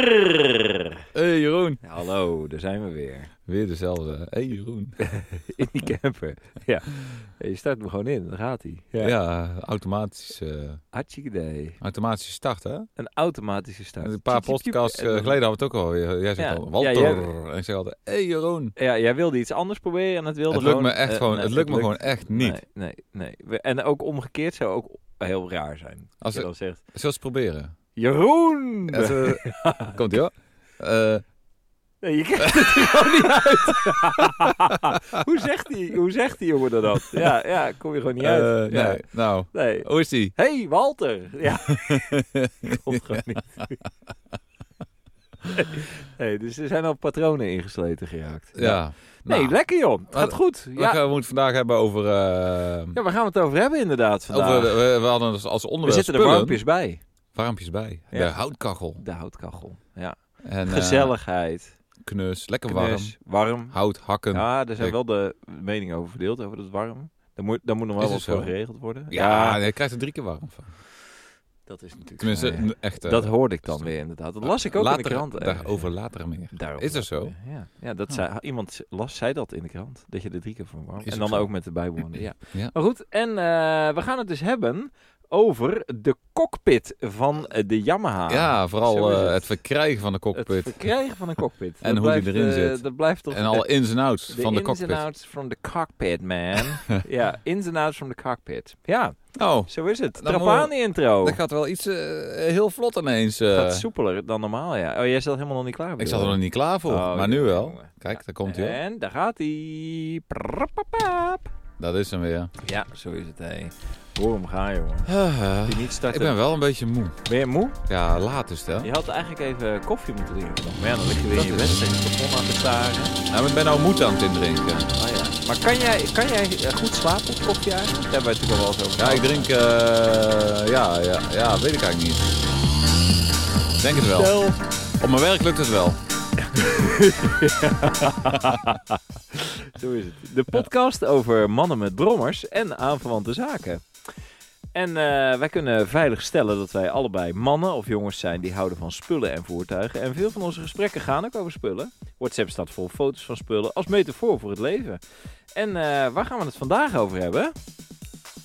Walter! hey, Jeroen. Hallo, daar zijn we weer. Weer dezelfde. hey, Jeroen. In die camper. Ja. Je start hem gewoon in, dan gaat hij. Ja, automatisch, eh, Hartstikke idee. automatische start, hè? Een automatische start. Een paar Tjiep, tjiep, tjiep. podcasts eh, En dan- geleden hadden we het ook al. weer. Jij zegt Ja, al, Walter. ja, jij- En ik zeg altijd, hey, Jeroen. Ja, jij wilde iets anders proberen en het wilde Het lukt me gewoon- echt eh, gewoon, nee, het lukt me gewoon lukt- echt niet. Nee, nee, nee. We- En ook omgekeerd zou ook heel raar zijn. Als Als je ik- dan zegt, Zullen we eens proberen? Jeroen! En ze- Komt ie hoor. Eh, Nee, je krijgt het er gewoon niet uit. hoe, zegt die, hoe zegt die jongen dat dan? Ja, ja, kom je gewoon niet uit. eh, Ja, nee, nou, nee. hoe is die? Hé, hey, Walter! Ja, komt gewoon niet. Nee, dus er zijn al patronen ingesleten geraakt. Ja. Nee, nou, lekker joh. Het gaat Wat- goed. we Ja. gaan- we moeten het vandaag hebben over... eh, ja, waar gaan we het over hebben inderdaad vandaag? over de- we, we hadden dus als we onderwerp zitten er spullen. warmpjes bij. warmpjes bij. Ja. De houtkachel. De houtkachel. Ja. En, eh, Gezelligheid. knus, lekker knus, warm. Hout hakken. Ja, daar zijn Ik- wel de meningen over verdeeld, over dat warm. Daar moet, daar moet nog wel Is wat het voor zo? geregeld worden. Ja, je krijgt er drie keer warm van. dat is natuurlijk... Tenminste, waar, ja. een echte. dat hoorde ik dan weer inderdaad. Dat las ik ook later, in de krant. ergens. Daarover later meer. Daarop. Is dat zo? Ja, ja dat Ah. zei, iemand las, zei dat in de krant. Dat je er drie keer van warm. Is En ook dan zo. ook met de bijbehorende. Ja. Ja. Maar goed, en eh, we gaan het dus hebben over de cockpit van eh, de Yamaha. ja, zo vooral is eh, het. het. verkrijgen van de Het cockpit. verkrijgen van een cockpit. En hoe die erin eh, zit. Dat blijft toch... En alle ins en outs de van de ins and cockpit. outs from the cockpit, man. ja, ins and outs from the cockpit. Ja, Oh, zo is het. Dan Trapani-intro. dat gaat wel iets eh, heel vlot ineens. eh. Gaat soepeler dan normaal, ja. Oh, jij zat helemaal nog niet klaar. ik bedoel zat er je? nog niet klaar voor, Oh, maar nu jongen, wel. jongen. Kijk, daar komt hij. En daar gaat hij. Dat is hem weer. Ja, zo is het, hé. Waarom ga je, jongen? Ah, Die niet starten. ik ben wel een beetje moe. Ben je moe? Ja, laat is het, hè? Je had eigenlijk even koffie moeten drinken. nog. Maar ja, dan lig je weer in je Dat bed is- tegen de plafond aan te staren. Nou, maar ik ben nou moed aan het indrinken. Oh ja. Maar kan jij, kan jij eh, goed slapen op koffie eigenlijk? Daar hebben we het natuurlijk al wel eens over Ja, ik gehad. drink... eh, ja, ja, ja, weet ik eigenlijk niet. Ik Denk het wel. Stel. Op mijn werk lukt het wel. Zo is het. De podcast over mannen met brommers en aanverwante zaken. En eh, wij kunnen veilig stellen dat wij allebei mannen of jongens zijn die houden van spullen en voertuigen. En veel van onze gesprekken gaan ook over spullen. WhatsApp staat vol foto's van spullen als metafoor voor het leven. En eh, waar gaan we het vandaag over hebben?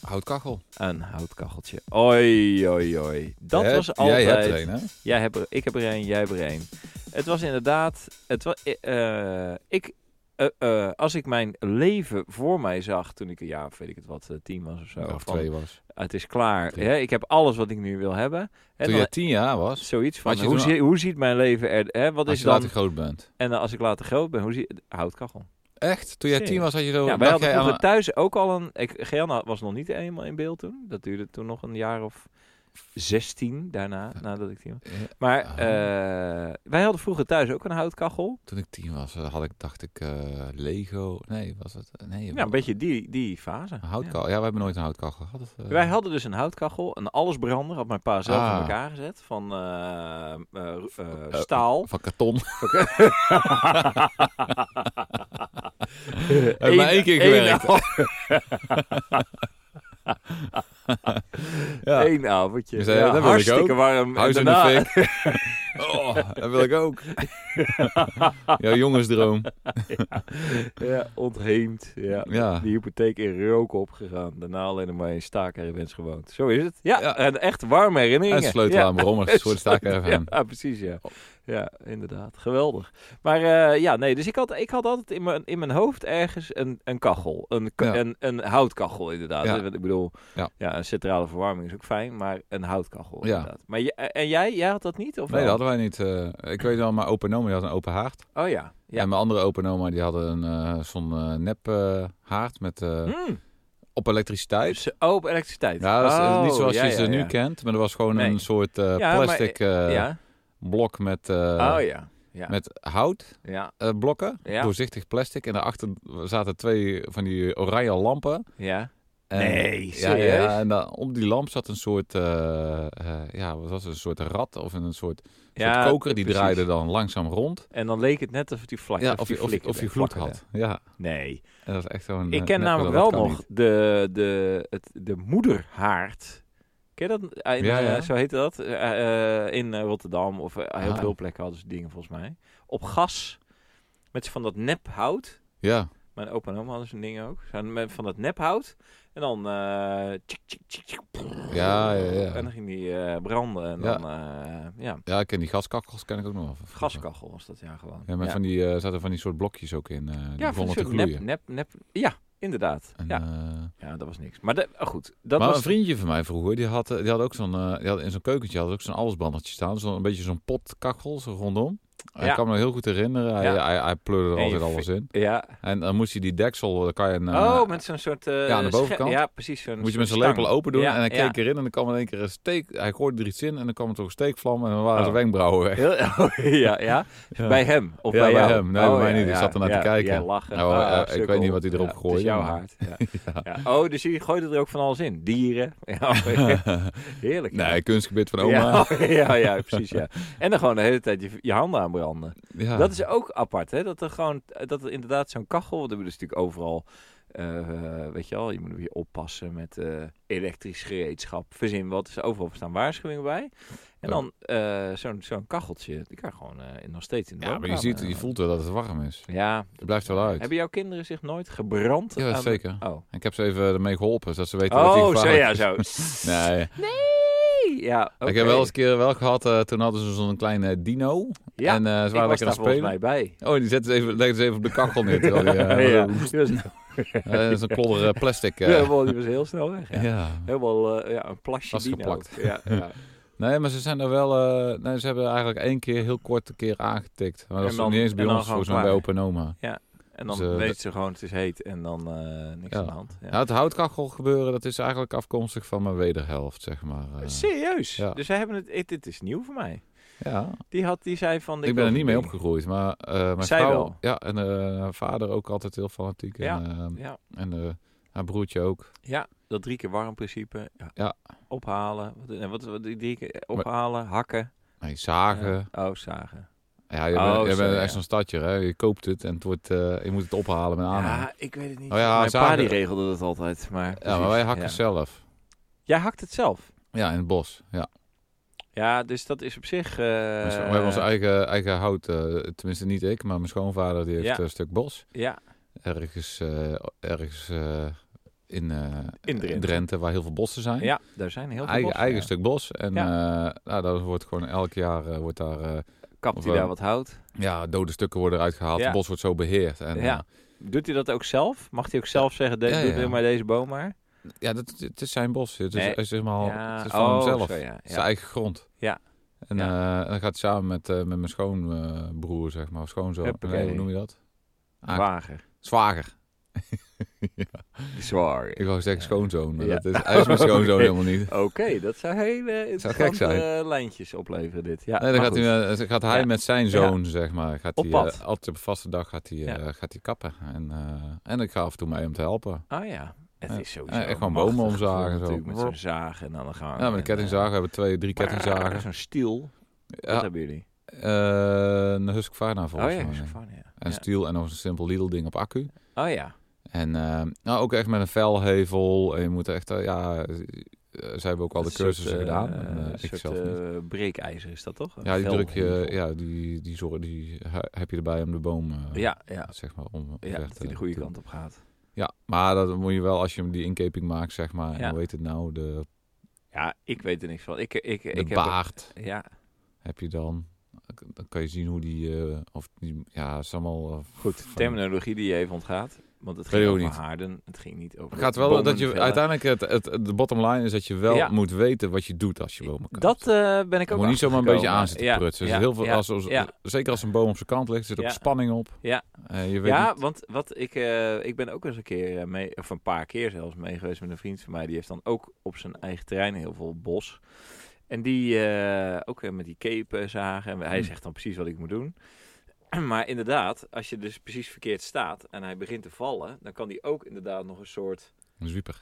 Houtkachel. Een houtkacheltje. Oi, oi, oi. Dat Jij was hebt- altijd... Jij hebt er een, hè? Jij hebt er, ik heb er een, jij hebt er een. Het was inderdaad. Het wa, eh, eh, ik, eh, eh, als ik mijn leven voor mij zag toen ik een jaar, of weet ik het wat, eh, tien was of zo. Of van, Nou, twee was. Het is klaar. Drie. Hè, ik heb alles wat ik nu wil hebben. En Toen dan jij tien jaar was, zoiets van. Had je Hoe, toen al- zie- hoe ziet mijn leven er? Hè, wat als is je dan? later groot bent. En dan als ik later groot ben, hoe zie houtkachel? Echt? Toen jij Serieus? tien was, had je ja, zo... wij dacht hadden jij aan vroeger thuis ook al een. Ik, Geanna was nog niet eenmaal in beeld toen. Dat duurde toen nog een jaar of 16 daarna, nadat ik tien was. een- Ja, Maar Ah. eh, wij hadden vroeger thuis ook een houtkachel. Toen ik tien was, eh, had ik, dacht ik, eh, Lego... Nee, was het... Nee, Ja, wat- een beetje die, die fase. Een houtkachel. Ja, we hebben nooit een houtkachel gehad. eh. Ja. Wij hadden dus een houtkachel, een allesbrander, had mijn pa zelf in Ah. Oh. elkaar gezet, van eh, eh, eh, staal. Van karton. Eén- maar één keer één gewerkt. av- Ja. Eén avondje. Dus, ja, eh, dat wil ik hartstikke ook. warm. Huis en in de daarna, fik. Oh, dat wil ik ook. Jouw jongensdroom. ja, ontheemd. Ja. Ja. Die hypotheek in rook opgegaan. Daarna alleen nog maar in staakerwens gewoond. Zo is het. Ja, Ja. en echt warme herinneringen. En sleutel Ja. aan brommers. Voor de staak er even aan. Ja, precies, ja. Oh. Ja, inderdaad. Geweldig. Maar eh, ja, nee, dus ik had, ik had altijd in mijn, in mijn hoofd ergens een, een kachel. Een, ka- Ja. een, een houtkachel, inderdaad. Ja. hè, want Ik bedoel, ja. Ja. een centrale verwarming is ook fijn, maar een houtkachel, Ja. inderdaad. Maar je- en jij, jij had dat niet? Of Nee, dat wel? hadden wij niet. eh, ik weet wel, mijn open oma die had een open haard. Oh ja. ja. En mijn andere open oma die hadden een eh, zo'n eh, nep eh, haard met, eh, Hmm. op elektriciteit. Dus open elektriciteit. Ja, dat is eh, niet Oh, zoals ja, je ja, ze nu ja. kent. Maar dat was gewoon Nee. een soort eh, Ja, maar, plastic eh, ja. blok met, eh, oh ja. Ja. met hout ja. eh, blokken. Ja. Doorzichtig plastic. En daarachter zaten twee van die oranje lampen. Ja. En, Nee, ja, ja, serieus? ja, en dan op die lamp zat een soort, eh, eh, ja, wat was het, een soort rat of een soort, Ja, soort koker. Die precies. draaide dan langzaam rond. En dan leek het net alsof die vlak Ja, of, je, of, je- of je gloed had. Ja, Nee. En dat is echt zo'n... Ik eh, ken net- namelijk dat wel kan nog niet. de, de, het, de moederhaard. Ken je dat? Eh, in, Ja, ja. eh, zo heette dat. Eh, eh, in eh, Rotterdam of eh, heel Ah. veel plekken hadden ze dingen volgens mij. Op gas. Met van dat nephout. Ja. Mijn opa en oma hadden zo'n ding ook. Zo'n- met van dat nephout. En dan... eh, tjik, tjik, tjik, tjik, Ja, ja, ja. En dan ging die eh, branden. En Ja. dan... eh, ja, ja, ik ken die gaskakkels ken ik ook nog wel. van vroeger. gaskachel was dat ja gewoon. Ja, maar ja. Van die, eh zaten van die soort blokjes ook in. eh die Ja, van begonnen te een soort gloeien. nep, nep, nep. Ja, inderdaad. En, ja. eh, ja, dat was niks. Maar de- oh, goed, dat maar was... een vriendje van mij vroeger, die had, eh, die had ook zo'n, eh, die had in zo'n keukentje had ook zo'n allesbrandertje staan. Zo'n een beetje zo'n potkachel, zo rondom. Ja. Ik kan me heel goed herinneren. Hij, Ja. hij, hij pleurde er En je altijd alles in. Ja. En dan moest hij die deksel, dan kan je een, eh, oh, met zo'n soort... eh, ja, aan de sche- bovenkant. Ja, precies. Zo'n Moet je soort met zijn lepel stang. open doen Ja, en hij ja. keek erin en dan kwam in één keer een steek. Hij gooide er iets in en dan kwam er toch een steekvlam en dan waren Oh. zijn wenkbrauwen weg. Heel, oh, ja, ja. Ja. Bij hem of Ja, bij bij jou? Oh, hem. Nee, bij mij niet. Ik zat ernaar te kijken. Jij lachen. Nou, Ah, eh, ik sukkel. weet niet wat hij erop Ja, gooide, Het is jouw maar- haard. Ja. Ja. Oh, dus je gooide er ook van alles in. Dieren. Ja, oh, Heerlijk. ja. Nee, kunstgebied van Ja, oma. ja, ja, precies. Ja. En dan gewoon de hele tijd je, je handen aan branden. Ja. Dat is ook apart, hè? Dat er gewoon, eh, dat er inderdaad zo'n kachel, want dat is natuurlijk overal, eh, weet je wel, je moet weer oppassen met eh, elektrisch gereedschap, verzin wat, is overal staan waarschuwingen bij. En Ja. dan eh, zo'n zo'n kacheltje, die kan gewoon eh, nog steeds in de Ja, maar je, woonkamer. eh. ziet, je voelt wel dat het warm is. Ja. Het blijft wel uit. Hebben jouw kinderen zich nooit gebrand? Ja, aan dat de- zeker. Oh. Ik heb ze even ermee geholpen, zodat ze weten dat die Oh, zo gevaarlijk ja, is. zo. Nee, Nee! Ja, ik oké. heb wel eens een keer wel gehad, eh, toen hadden ze zo'n kleine dino. Ja, en eh, ze ik waren was lekker daar aan het volgens spelen. mij bij. Oh, die zetten ze even, legden ze even op de kachel neer. Terwijl die, Ja, eh, ja. was- Die was, eh, dat is een klodder eh, plastic. eh. ja, wel, die was heel snel weg. Ja. ja. Helemaal eh, ja, een plasje Was dino. geplakt. Dus, Ja, ja. Nee, maar ze zijn er wel. eh, nee, ze hebben eigenlijk één keer heel kort een keer aangetikt. Maar En dat is dan- nog niet eens bij en dan ons, gewoon volgens mij bij klaar. opa en oma. En dan Dus, eh, weet dat- ze gewoon het is heet en dan eh, niks Ja. aan de hand. Ja. Ja, Nou, het houtkachel gebeuren, dat is eigenlijk afkomstig van mijn wederhelft, zeg maar. eh. Serieus? ja. Dus zij hebben het, dit- dit is nieuw voor mij. ja, Die, had, die zei van... ik wil ben er niet zo'n mee ding. opgegroeid, maar eh, mijn Zij vrouw wel. ja, en eh, haar vader ook altijd heel fanatiek. En, Ja, eh, Ja. en eh, haar broertje ook. ja, dat drie keer warm principe. Ja. Ja. Ophalen. Wat, eh, wat, wat- die drie keer ophalen, hakken. Nee, zagen. Ja. Oh, zagen. Ja, je Oh, bent, je zo, bent ja. echt zo'n stadje, hè? Je koopt het en het wordt, eh, je moet het ophalen met aanhang. Ja, Ja, ik weet het niet. Oh ja, Mijn pa zagen- die regelde dat altijd. Maar, maar precies, wij hakken ja. zelf. Jij hakt het zelf? Ja, in het bos. Ja. Ja, dus dat is op zich... eh, Dus we hebben ons eigen, eigen hout, eh, tenminste niet ik, maar mijn schoonvader die heeft Ja. een stuk bos. Ja, Ergens, eh, ergens eh, in, eh, in Drenthe. waar heel veel bossen zijn. Ja, daar zijn heel veel eigen bossen, eigen ja. stuk bos. En eh, nou, dat wordt gewoon elk jaar eh, wordt daar, eh, Kapt Of, hij eh, daar wat hout? ja, dode stukken worden eruit gehaald. Ja. Het bos wordt zo beheerd. En, eh, Ja. Doet hij dat ook zelf? Mag hij ook zelf zeggen, de, Ja, ja, doe ja. maar deze boom maar? eh, Ja, dat, het is zijn bos. Het is, Nee. het is helemaal Ja, het is van oh, hemzelf. zo, ja, Het is ja. zijn eigen grond. Ja. En eh, dan gaat hij samen met, eh, met mijn schoonbroer, zeg maar. of Schoonzoon. Huppakee. Nee, hoe noem je dat? Aak- Wagen. Zwager. Zwaar. Ik wou zeggen schoonzoon, maar Ja. dat is, hij is mijn schoonzoon Oké. helemaal niet. Oké, dat zou hele gek interessante zijn. eh, lijntjes opleveren dit. Ja, nee, dan maar gaat hij, goed. eh, dan gaat hij Ja. met zijn zoon, zeg maar. Gaat Op hij, pad. eh, altijd op een vaste dag gaat hij, eh, gaat hij kappen. En, eh, en ik ga af en toe mee om te helpen. Ah ja, het eh, Ja. is sowieso Ja, echt gewoon een bomen machtig omzagen gevoel en zo. natuurlijk, Met zo'n zaag en aan de gang. Ja, met een kettingzaag. We hebben twee, drie Kettingzagen. kettingzagen. eh, Zo'n stiel. Dat Ja, hebben jullie. eh, een Husqvarna volgens oh ja, mij. zo'n van, ja. En Ja. stiel en nog een simpel Lidl ding op accu. Oh ja. En eh, nou, ook echt met een velhevel. En je moet echt, eh, ja, eh, ze hebben ook al de Dat is een cursussen soort, eh, gedaan. En, eh, een ik soort, zelf niet. eh, breekijzer is dat toch? Een Ja, die vel- druk je, ja, die, die, zorg, die he- heb je erbij om de boom, eh, Ja, ja. zeg maar, om Ja, weg dat hij te- de goede te- kant op gaat. Ja, maar dat moet je wel als je hem die inkeping maakt, zeg maar. Ja. En hoe heet het nou? De, Ja, ik weet er niks van. Ik, ik, de ik heb baard heb, Ja, je dan. Dan kan je zien hoe die, eh, of die, ja, het is allemaal... eh, goed. van- Terminologie die je even ontgaat. Want het Weet ging ik ook over niet. haarden. Het ging niet over... Het gaat wel bomen dat je vellen. uiteindelijk het, het, de bottom line is dat je wel Ja. moet weten wat je doet als je bomen kapt. Dat eh, ben ik Je ook moet niet zomaar een beetje achtergekomen. aan zitten Ja, prutsen. Er ja, zit heel veel, ja, als, als- ja. Zeker als een boom op zijn kant ligt, zit ook Ja. spanning op. Ja. Eh, je weet Ja, niet- want wat ik, eh, ik ben ook eens een keer eh, mee, of een paar keer zelfs mee geweest met een vriend van mij. Die heeft dan ook op zijn eigen terrein heel veel bos. En die eh, ook eh, met die kepen zagen. En hij Hmm. zegt dan precies wat ik moet doen. Maar inderdaad, als je dus precies verkeerd staat en hij begint te vallen, dan kan die ook inderdaad nog een soort een zwieper.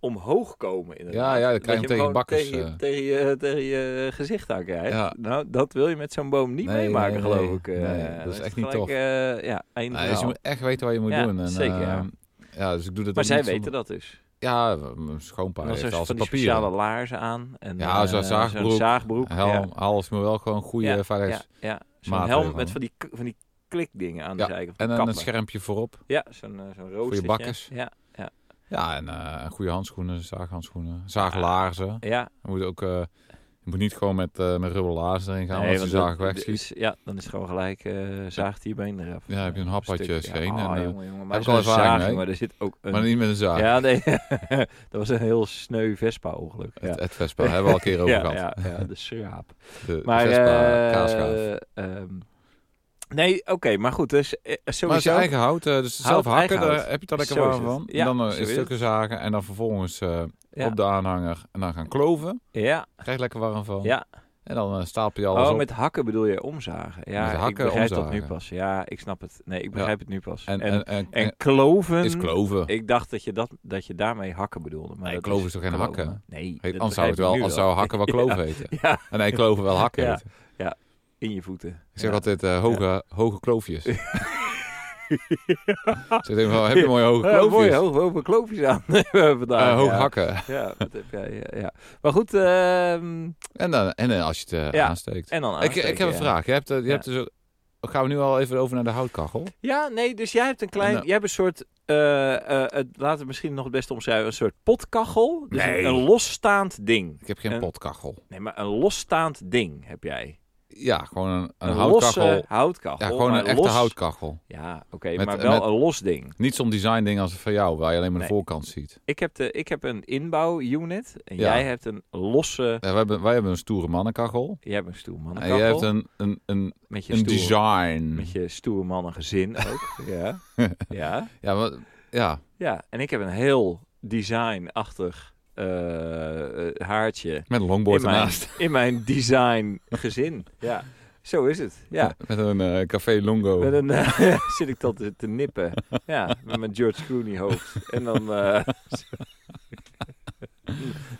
omhoog komen. Inderdaad. Ja, ja, dan Dat krijg je hem gewoon tegen bakkers, Tegen, je- eh. tegen, je, tegen je eh, gezicht aan krijgt. Ja. Nou, dat wil je met zo'n boom niet Nee, meemaken, nee, geloof nee. ik. eh. Nee, dat Dan is het echt niet gelijk, tof. eh, ja, einde Nee, dus je verhaal. moet echt weten wat je moet Ja, doen. En, zeker, eh, ja. ja, dus ik doe dat Maar ook zij niet weten zonder- dat dus. Ja, mijn schoonpa Dan heeft zijn al ze van die zijn papieren. speciale laarzen aan. En, Ja, eh, zo'n zaagbroek, zaagbroek. Helm, alles, maar wel gewoon goede ja, ja, veiligheids... ja. Zo'n maatregelen. helm met van die, k- van die klikdingen aan de Ja, zijkant. En van dan een kappen. schermpje voorop. Ja, zo'n eh, zo'n roostertje. bakkers. Ja, Ja, en eh, goede handschoenen, zaaghandschoenen, zaaglaarzen. ja. Je moet ook... eh, je moet niet gewoon met, eh met rubber laarzen erin gaan, want want als je zaag dat- dat wegschiet. is- Ja, dan is het gewoon gelijk eh zaagt hij je been eraf. Ja, heb je een happadje Stuk. scheen Ja, en, oh, eh, jongen, jongen. Maar heb ik al zo'n ervaring zaag, mee. jongen, er zit ook een... Maar niet met een zaag. ja, nee. dat was een heel sneu Vespa-ongeluk. Ja. Het, het Vespa, daar hebben we al een keer over ja, gehad. ja, ja, de schraap. De Maar, Vespa, eh, kaasschaaf. ehm, nee, oké, maar goed. Dus, eh, Maar sowieso, zijn eigen hout, eh, dus Hout, zelf hakken, eigen hout. daar heb je daar lekker Zo is warm het. van. Ja, en dan eh, zo in is stukken zagen en dan vervolgens eh, Ja. op de aanhanger en dan gaan kloven. ja, Krijg je lekker warm van. ja. En dan eh, stapel je alles Oh, Oh, op. met hakken bedoel je omzagen. Ja, Met ik hakken begrijp dat omzagen. nu pas. Ja, ik snap het. Nee, ik begrijp het nu pas. En, en, en, en, en, en kloven... is kloven. Ik dacht dat je, dat, dat je daarmee hakken bedoelde. Maar Nee, dat kloven is is toch geen kloven? hakken? Nee. Hey, dat anders zou begrijp het wel, ik nu anders zou hakken wel kloven heten. Ja, En nee, kloven wel hakken Ja. heten. in je voeten. Ik zeg Ja. altijd eh, hoge, hoge kloofjes. Ik zeg even van, heb je mooie hoge Ja, Eh, mooi, kloofjes? hoog, hoge kloofjes aan vandaag. Eh, hoge ja. hakken. Ja, dat heb jij, ja, ja. Maar goed, ehm, En, dan, en eh, als je het eh, Ja. aansteekt. en dan Ik, aansteken, ik heb een ja. vraag. Je hebt, eh, je Ja. hebt dus ook- gaan we nu al even over naar de houtkachel? Ja, nee, dus jij hebt een klein... En, eh, jij hebt een soort... eh, eh, het, laten we misschien nog het beste omschrijven. Een soort potkachel. Dus Nee. een, een losstaand ding. Ik heb geen En- potkachel. Nee, maar een losstaand ding heb jij. Ja, gewoon een, een, losse houtkachel. houtkachel. ja, gewoon maar een echte los- houtkachel. Ja, oké, Met- maar wel met- een los ding. Niet zo'n design ding als van jou, waar je alleen maar de Nee. voorkant ziet. Ik heb, de, ik heb een inbouwunit en Ja. jij hebt een losse... Ja, wij, hebben, wij hebben een stoere mannenkachel. Jij hebt een stoer En jij hebt mannenkachel. een, een, een, Met je een stoer, design. Met je stoer mannengezin ook. ja. ja. Ja, wat, ja. Ja, en ik heb een heel designachtig eh, eh, haartje met een longboard in mijn, ernaast. in mijn design gezin. Ja, zo is het. Ja. Met een eh, Café Longo. Met een, eh, zit ik dat te, te nippen. Ja, met mijn George Clooney hoofd. En dan... eh,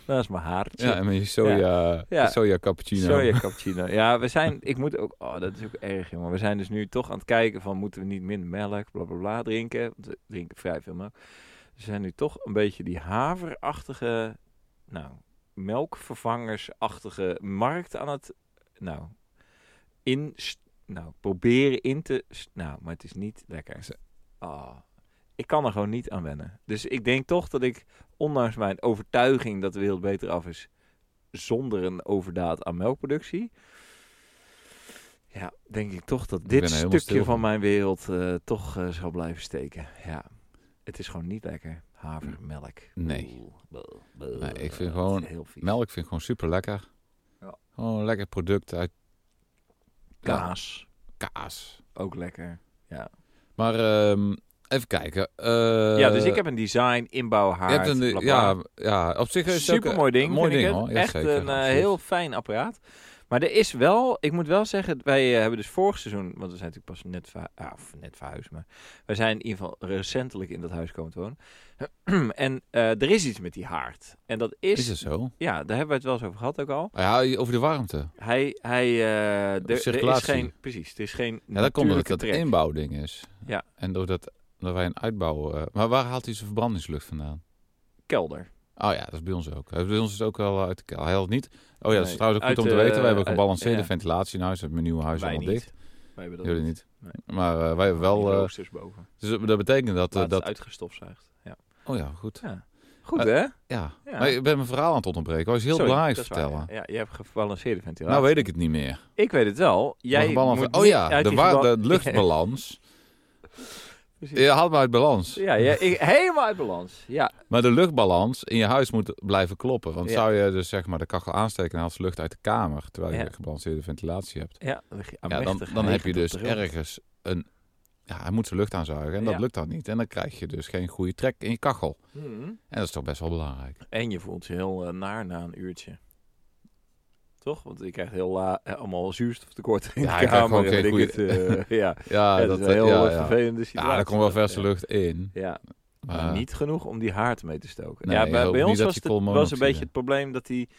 dat is mijn haartje. ja, en met je soja, Ja. soja cappuccino. Soja cappuccino. Ja, we zijn, ik moet ook, oh, dat is ook erg, jongen. We zijn dus nu toch aan het kijken van, moeten we niet minder melk, bla bla bla drinken? Want we drinken vrij veel melk. We zijn nu toch een beetje die haverachtige, nou, melkvervangersachtige markt aan het, nou, in, nou, proberen in te, s- nou, maar het is niet lekker. Ze- Ah, Ik kan er gewoon niet aan wennen. Dus ik denk toch dat ik, ondanks mijn overtuiging dat de wereld beter af is zonder een overdaad aan melkproductie. Ja, denk ik toch dat ben dit er helemaal stukje stil van van. mijn wereld eh, toch eh, zal blijven steken. Ja, het is gewoon niet lekker. Havermelk. Nee. Oeh, bul, bul. Nee, ik vind Dat gewoon is heel vies. Melk vind ik gewoon super lekker. Ja. Gewoon een lekker product uit Kaas, kaas. ook lekker. Maar ehm, even kijken. Eh, ja, dus ik heb een design, inbouw, je haard, hebt een, bla, bla. ja, ja, op zich is het ook Super mooi een- ding. een Mooi vind ding, ik het. hoor. Ja, Echt zeker, een eh, absoluut. heel fijn apparaat. Maar er is wel, ik moet wel zeggen, wij eh, hebben dus vorig seizoen, want we zijn natuurlijk pas net, verhu- ah, of net verhuisd, maar wij zijn in ieder geval recentelijk in dat huis komen te wonen. en eh, er is iets met die haard. En dat is, Is het zo? ja, daar hebben we het wel eens over gehad ook al. Ah Ja, over de warmte. Hij, hij, eh, er- er, is circulatie. geen, precies, er is geen Ja, dat komt omdat natuurlijke het trek. een inbouwding is. Ja. En doordat dat wij een uitbouw... eh, maar waar haalt hij zijn verbrandingslucht vandaan? kelder. Oh ja, dat is bij ons ook. Eh, Bij ons is het ook wel uit de kelder. Hij haalt niet... Oh ja, dat Nee, is trouwens ook uit goed om te de- weten. Wij hebben uit- gebalanceerde ja. ventilatie in huis. We hebben Mijn nieuwe huis Wij allemaal niet. dicht. Wij hebben dat Jullie niet. Nee. Maar eh, wij hebben Die wel... eh, roosters boven. dus dat dat betekent dat... eh, Laatst dat uitgestofzuigd. Ja. oh ja, goed. Ja. Goed Maar- hè? Ja. Ja. Maar ik ben mijn verhaal aan het onderbreken. Dat was heel Sorry, belangrijk dat is waar, vertellen. ja. Ja, je hebt gebalanceerde ventilatie. Nou weet ik het niet meer. Ik weet het wel. Jij Nog een bal aan- moet oh niet ja, uit de, die wa- gebal- de luchtbalans. Precies. Je haalt me uit balans. Ja, ja ik, helemaal uit balans. Ja, Maar de luchtbalans in je huis moet blijven kloppen. Want Ja. zou je dus zeg maar de kachel aansteken en haalt ze lucht uit de kamer... terwijl je Ja. gebalanceerde ventilatie hebt. ja, Ja, dan, dan heb je dus ergens een... Ja, hij moet zijn lucht aanzuigen en Ja. dat lukt dan niet. En dan krijg je dus geen goede trek in je kachel. Hmm. En dat is toch best wel belangrijk. En je voelt je heel eh, naar na een uurtje. Toch? Want je krijgt heel la- eh, allemaal zuurstoftekort in Ja, de je krijgt kamer. gewoon en geen weet ik het, eh, ja, Ja, Ja, dat dat, is een heel ja, eh, ja. vervelende situatie. ja, daar komt wel dat, verse ja. lucht in. Ja, Maar Maar- niet genoeg om die haard mee te stoken. Eh. Nee, ja, ik bij, hoop bij niet ons dat was die het was een koolmonoxide- beetje het probleem dat die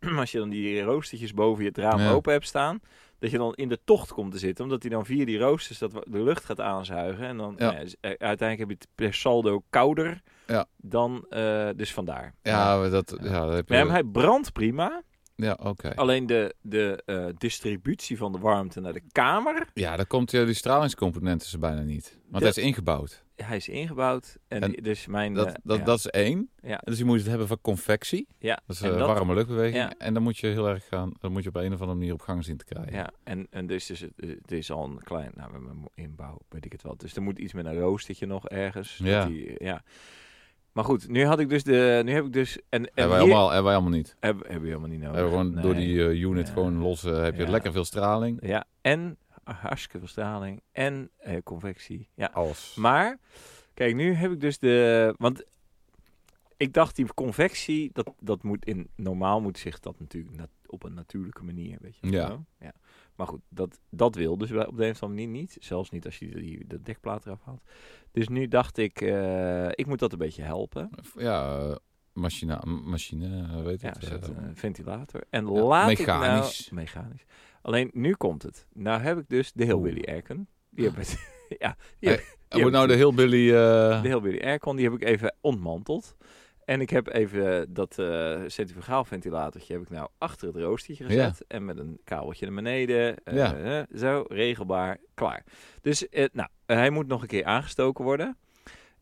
als je dan die roostertjes boven je het raam Ja. open hebt staan, dat je dan in de tocht komt te zitten, omdat die dan via die roosters dat wa- de lucht gaat aanzuigen. En dan Ja. nou ja, dus, eh, uiteindelijk heb je het per saldo kouder Ja. dan, eh, dus vandaar. Ja, maar dat, ja, dat heb je... Nee, maar Oh. hij brandt prima. Ja, oké. Alleen de, de eh, distributie van de warmte naar de kamer, Ja, dan komt eh, die stralingscomponent is er bijna niet. Want Dat- hij is ingebouwd. hij is ingebouwd. En, En die- dus mijn... Dat, eh, dat, ja, dat is één. Ja. Dus je moet het hebben van convectie. ja. Dat is En eh, dat- warme luchtbeweging. ja. En dan moet je heel erg gaan... Dan moet je op een of andere manier op gang zien te krijgen. Ja, en, en dus is het, het is al een klein, nou, met mijn inbouw weet ik het wel. Dus er moet iets met een roostertje nog ergens. dat Ja. Die, ja. Maar goed, nu had ik dus de, nu heb ik dus, en, en Hebben wij, hier- allemaal, hebben wij allemaal niet. hebben, hebben we helemaal niet nodig. Hebben we gewoon Oh, Nee. door die eh, unit Ja. gewoon los eh, heb je Ja. lekker veel straling. Ja, en hartstikke veel straling en eh, convectie. Ja, Alles. Maar, kijk, nu heb ik dus de... Want ik dacht, die convectie, dat, dat moet in... Normaal moet zich dat natuurlijk nat- op een natuurlijke manier, weet je wel. Ja. zo? ja. Maar goed, dat, dat wil dus wel op de een of andere manier niet. Zelfs niet als je die, de dekplaat eraf haalt. Dus nu dacht ik, eh, ik moet dat een beetje helpen. ja, eh, machina, m- machine, eh, weet Ja, het. zet eh, een ventilator. En ja, laat mechanisch. ik nou... Mechanisch. Alleen, nu komt het. Nou heb ik dus de Hillbilly Erken. Die heb ik... ja, die heb, er wordt nou de heel Billy. eh, De Hillbilly Aircon, die heb ik even ontmanteld. En ik heb even eh, dat eh centrifugaal ventilatortje heb ik nou achter het roostertje gezet. En met een kabeltje naar beneden. eh, Ja. eh, zo, regelbaar, klaar. Dus eh, nou, hij moet nog een keer aangestoken worden.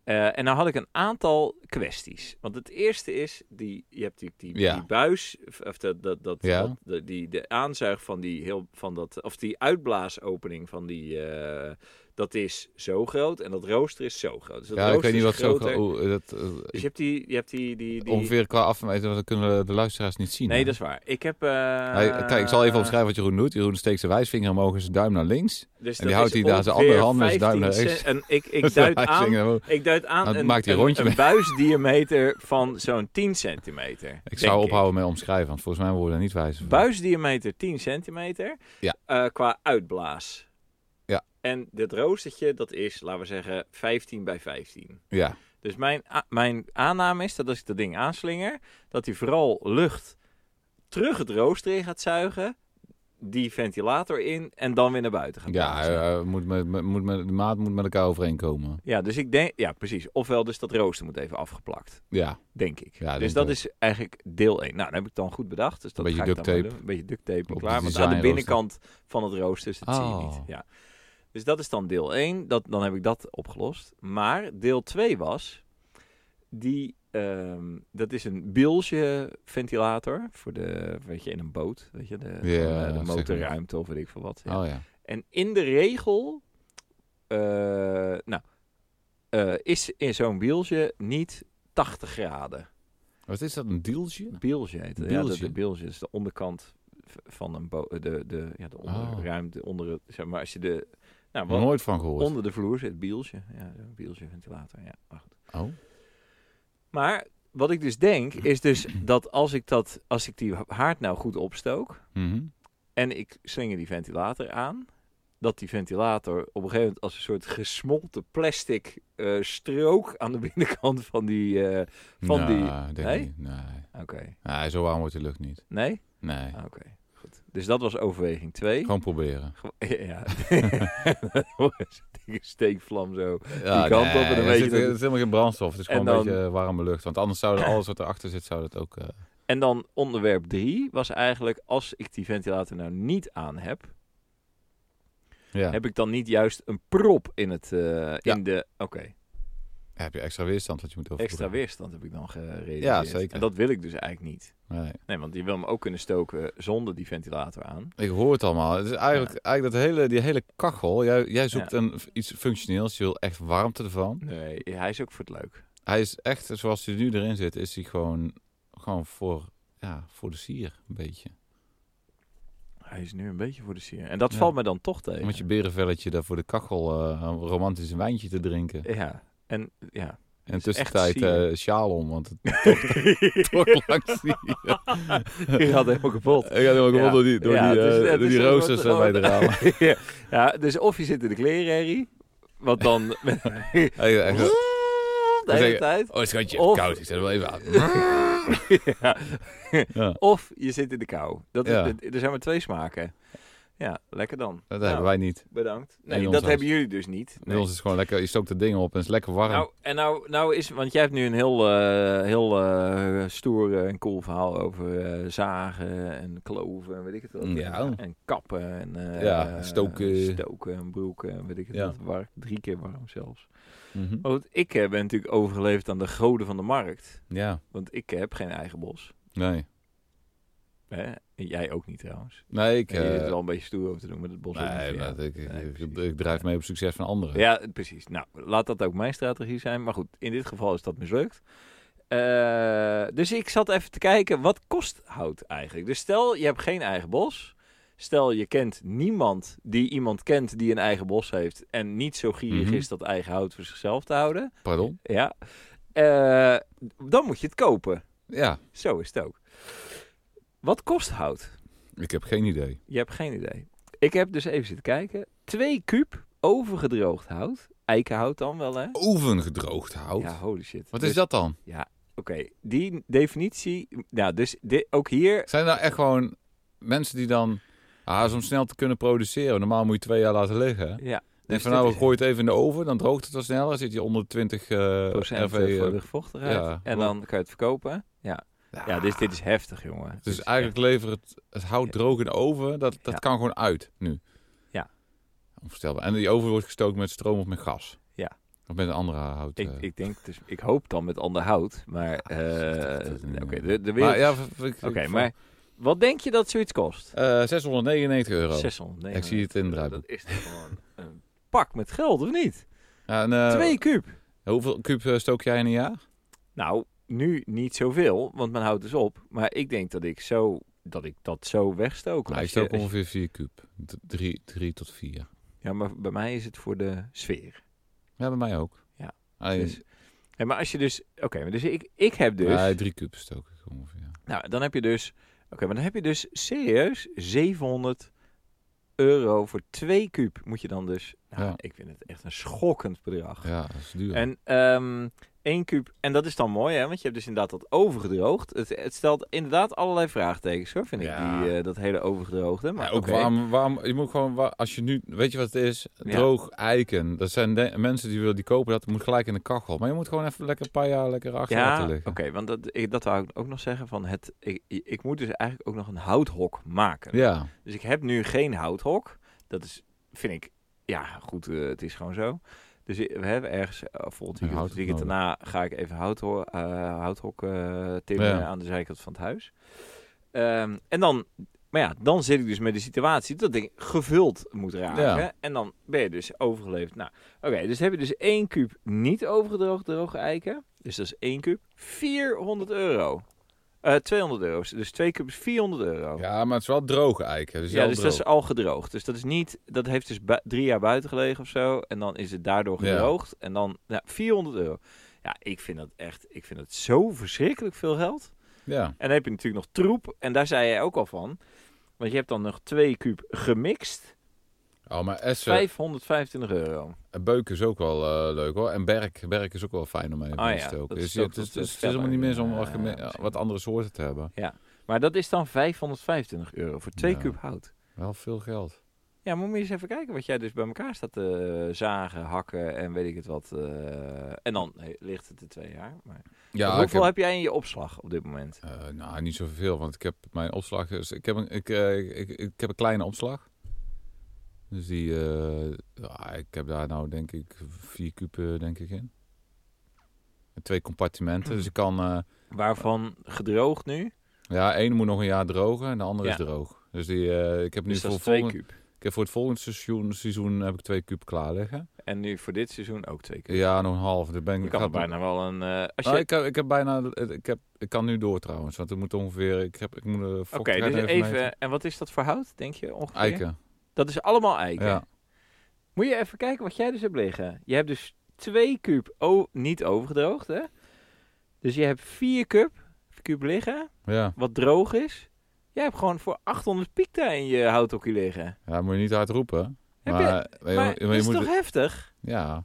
Eh, en nou had ik een aantal kwesties. Want het eerste is, die, je hebt die, die, Ja. die buis, of- of dat, dat, dat, Ja. dat- de, die, de aanzuig van die, heel, van dat, of die uitblaasopening van die, eh, dat is zo groot en dat rooster is zo groot. Dus dat ja, ik rooster weet niet wat is zo. groter. oeh, dat, eh, Dus je hebt die, je hebt die, die, die... Ongeveer qua afmeten, want dat kunnen de luisteraars niet zien. Nee, hè? dat is waar. Ik heb... eh, Hij- kijk, ik zal even omschrijven wat Jeroen doet. Jeroen steekt zijn wijsvinger omhoog en zijn duim naar links. dus En die houdt hij daar zijn andere hand met zijn duim naar rechts. En ik, ik duid aan... Wijsvinger omhoog. Ik duid aan Nou, een, maakt hij een een, rondje een buisdiameter van zo'n 10 centimeter. Ik denk zou ophouden met omschrijven, want volgens mij worden we niet wijs. Buisdiameter 10 centimeter Ja. eh, qua uitblaas. Ja. En dit roostertje, dat is, laten we zeggen, 15 bij 15. Ja, Dus mijn, a- mijn aanname is dat als ik dat ding aanslinger, dat hij vooral lucht terug het rooster in gaat zuigen, die ventilator in en dan weer naar buiten gaat ja blazen. eh, moet met, met- moet met, de maat moet met elkaar overeenkomen. ja, dus ik denk, ja precies. Ofwel dus dat rooster moet even afgeplakt, Ja, denk ik. Ja, dus denk dat ook. is eigenlijk deel 1. Nou, dat heb ik dan goed bedacht. Dus dat Beetje ga ik dan maar duct tape. doen. Een beetje duct tape en Op klaar. het Want aan de designrooster. binnenkant van het rooster, dus dat zie je Oh. niet. Ja. Dus dat is dan deel 1. Dat, dan heb ik dat opgelost. Maar deel 2 was... Die, ehm, dat is een bilge ventilator voor de, weet je, in een boot, weet je, de, Ja, gewoon, eh, de zeg maar. motorruimte of weet ik veel wat. ja. oh ja. En in de regel, eh, nou, eh, is in zo'n bieltje niet 80 graden. Wat is dat, een dealtje? Bieltje heet het. Ja, Bieltje? de, de bieltje is de onderkant v- van een bo- de, de, ja, de onderruimte, onder het, zeg maar, als je de, nou, wat, Nooit van gehoord. onder de vloer zit, bieltje. Ja, zo'n bieltje ventilator, ja, maar goed. Oh. Maar wat ik dus denk, is dus dat als ik, dat, als ik die haard nou goed opstook, Mhm. En ik slinger die ventilator aan. Dat die ventilator op een gegeven moment als een soort gesmolten plastic eh, strook aan de binnenkant van die. eh, Van die- Nee, Nou, denk Nee? niet. Nee. Oké. nee, zo warm wordt de lucht niet. Nee? Nee, Ah, Oké. Goed. Dus dat was overweging 2. gewoon proberen. Ja. Dikke steekvlam zo. Ja, kant op en dan er weet je zit- dat- Het is helemaal geen brandstof, het is En gewoon een dan- beetje eh, warme lucht. Want anders zou er alles wat erachter zit, zou dat ook... eh, En dan onderwerp 3 was eigenlijk: als ik die ventilator nou niet aan heb, ja. Heb... heb ik dan niet juist een prop in het. eh, Ja. in de. Oké. je extra weerstand wat je moet overbruggen. Extra weerstand heb ik dan gerealiseerd. Ja, zeker. En dat wil ik dus eigenlijk niet. Nee. Nee, want je wil hem ook kunnen stoken zonder die ventilator aan. Ik hoor het allemaal. Het is eigenlijk, eigenlijk dat hele, die hele kachel. Jij, jij zoekt een, iets functioneels. Je wil echt warmte ervan. Nee, hij is ook voor het leuk. Hij is echt, zoals hij nu erin zit, is hij gewoon, gewoon voor, ja, voor de sier een beetje. Hij is nu een beetje voor de sier. En dat Ja. valt me dan toch tegen. Met je berenvelletje daar voor de kachel eh, een romantisch wijntje te drinken. Ja, en ja. En is echt tussentijd zielig. eh sjaal om, want het wordt langs die... Je gaat helemaal kapot. Ik ga helemaal Ja. gewoon door die, door Ja, die, het is- eh, het door is die een soort- roosters eh, bij de ramen. ja, dus of je zit in de klerenherrie, wat dan de Hij- hij- hele zeggen- Mm, tijd. Oh schatje, Of- koud. Ik zet hem wel even aan. Ja. Ja. Of je zit in de kou. Dat is, mm. Ja. het- er zijn maar twee smaken. Ja, lekker dan. Dat Nou, hebben wij niet. Bedankt. In Nee, ons dat huis. hebben jullie dus niet. Bij Nee. ons is het gewoon lekker, je stookt de dingen op en het is lekker warm. Nou, en nou, nou is, want jij hebt nu een heel, eh, heel eh, stoer en cool verhaal over eh, zagen en kloven en weet ik het wat. Ja. En, en kappen en eh, Ja, stoken. stoken en broeken en weet ik het Ja. wat. Warm, drie keer warm zelfs. Mhm. Maar goed, ik eh, ben natuurlijk overgeleefd aan de goden van de markt. Ja, Want ik heb geen eigen bos. nee. Hè? En jij ook niet trouwens. Nee, ik... Ik, je zit eh, er wel een beetje stoer over te doen met het bos. ook niet nee, voor jou. maar ik, ik, Nee, ik- precies. ik drijf mee op succes van anderen. Ja, precies. Nou, laat dat ook mijn strategie zijn. Maar goed, in dit geval is dat mislukt. Eh, dus ik zat even te kijken, wat kost hout eigenlijk? Dus stel, je hebt geen eigen bos. Stel, je kent niemand die iemand kent die een eigen bos heeft... en niet zo gierig Mhm. is dat eigen hout voor zichzelf te houden. Pardon? Ja. Eh, dan moet je het kopen. Ja, Zo is het ook. Wat kost hout? ik heb geen idee. Je hebt geen idee. Ik heb dus even zitten kijken. Twee kuub overgedroogd hout. Eikenhout dan wel, hè? Ovengedroogd hout? Ja, holy shit. Wat Dus- is dat dan? Oké, die definitie. Nou, dus di- ook hier. Zijn er echt gewoon mensen die dan... Ah, is om snel te kunnen produceren. Normaal moet je twee jaar laten liggen. hè? Ja. Denk Dus van nou, we dit is gooien het even in de oven. Dan droogt het wat sneller. Zit je onder 20 eh, procent RV. eh, eh, voor luchtvochtigheid. ja. En dan kan je het verkopen. Ja, ja dus dit is heftig, jongen. Dit Dus is eigenlijk levert het, het hout droog in de oven. Dat, dat Ja. kan gewoon uit nu. Ja. Onvoorstelbaar. En die oven wordt gestookt met stroom of met gas. Ja. Of met een andere hout. echt- eh. Ik, ik denk, dus, ik hoop dan met ander hout. Maar. eh dat is niet Oké, meer. de, de wereld. maar, Oké, ja, v- v- ik- ik- maar wat denk je dat zoiets kost? eh, 699 euro. 600. nee, Ik zie het indruipen. Dat is toch gewoon een pak met geld, of niet? Ja, en, eh, Twee kuub. Hoeveel kuub eh, stook jij in een jaar? Nou, nu niet zoveel, want men houdt dus op. Maar ik denk dat ik zo. Dat ik dat zo wegstook. Nou, ik Als je- stook als je- ongeveer 4 kuub. 3 tot 4. Ja, maar bij mij is het voor de sfeer. Ja, bij mij ook. Ja. Alleen, Dus, ja, maar als je dus... Oké, maar dus ik, ik heb dus... nee, drie kuub stook ik ongeveer. ja. Nou, dan heb je dus... Oké, maar dan heb je dus serieus 700 euro voor twee kuub. Moet je dan dus... Nou, Ja. ik vind het echt een schokkend bedrag. Ja, dat is duur. En ehm één kuub... En dat is dan mooi, hè? Want je hebt dus inderdaad dat overgedroogd. Het, het stelt inderdaad allerlei vraagtekens, hoor. Vind Ja. ik, die, eh, dat hele overgedroogde. Maar Maar ook oké. waarom, waarom, je moet gewoon, wa- als je nu, weet je wat het is? Ja. Droog eiken. Dat zijn de- mensen die willen die kopen, dat moet gelijk in de kachel. Maar je moet gewoon even lekker een paar jaar lekker achter Ja, laten oké, liggen. want dat, ik, dat wou ik ook nog zeggen. Van het, ik, ik moet dus eigenlijk ook nog een houthok maken. Ja, Dus ik heb nu geen houthok. Dat is, vind ik, ja, goed, eh, het is gewoon zo. Dus i- we hebben ergens, eh, volgend Een weekend, het houthoek weekend nodig. daarna ga ik even houtho eh houthok eh timmeren Ja. aan de zijkant van het huis. Ehm, en dan, maar ja, dan zit ik dus met de situatie dat ik gevuld moet raken. Ja. En dan ben je dus overgeleefd. Nou, oké, dus heb je dus één kuub niet overgedroogd droge eiken. Dus dat is één kuub. 400 euro. Eh 200 euro. Dus twee kuub is 400 euro. ja, maar het is wel droge eiken. Dus Ja, wel dus dat droog. is al gedroogd. Dus dat is niet, dat heeft dus bu- drie jaar buiten gelegen of zo. En dan is het daardoor Ja. gedroogd. En dan ja, 400 euro. Ja, ik vind dat echt, ik vind dat zo verschrikkelijk veel geld. Ja, En dan heb je natuurlijk nog troep. En daar zei jij ook al van. Want je hebt dan nog twee kuub gemixt. oh, maar essen, 525 euro. en beuken is ook wel eh, leuk hoor. En berk, berk is ook wel fijn om even Ah, te ja, stoken. dat Dus is je- ook het is, wat, het eh, is helemaal niet verder. meer om Ja, wat geme- precies. wat andere soorten te hebben. Maar dat is dan 525 euro voor twee Ja. kuub hout. Wel veel geld. Ja, maar moet je eens even kijken wat jij dus bij elkaar staat te zagen, hakken en weet ik het wat. eh, en dan eh, ligt het er twee jaar. Maar... Ja, ik hoeveel heb- heb... jij in je opslag op dit moment? Eh, nou, niet zoveel, want ik heb mijn opslag. Dus ik, heb een, ik, eh, ik, ik, ik heb een kleine opslag. Dus die, eh, ja, ik heb daar nou denk ik vier kuben denk ik in. En twee compartimenten. Dus ik kan, eh, Waarvan gedroogd nu? ja, één moet nog een jaar drogen en de andere Ja. is droog. Dus die, eh, ik heb nu Dus dat voor, is twee volgende, kuub. ik heb voor het volgende seizoen, seizoen heb ik twee kuub klaar liggen. En nu voor dit seizoen ook twee kuub. Ja, nog een half. Dan ben ik, je kan gaat- er bijna wel een... eh, als je... Nou, ik, heb, ik heb bijna, eh, ik heb, ik kan nu door trouwens, want het moet ongeveer, ik heb, ik moet eh, de Oké, vochtigheid dus even... meten. En wat is dat voor hout, denk je ongeveer? eiken. Dat is allemaal eiken. Ja. Moet je even kijken wat jij dus hebt liggen. Je hebt dus twee kuub o- niet overgedroogd, hè? Dus je hebt vier kuub, kuub liggen, Ja, wat droog is. Jij hebt gewoon voor 800 piek daar in je houthokje liggen. ja moet je niet hard roepen. Heb Maar, maar je- maar maar je dat is moet toch het- heftig? ja.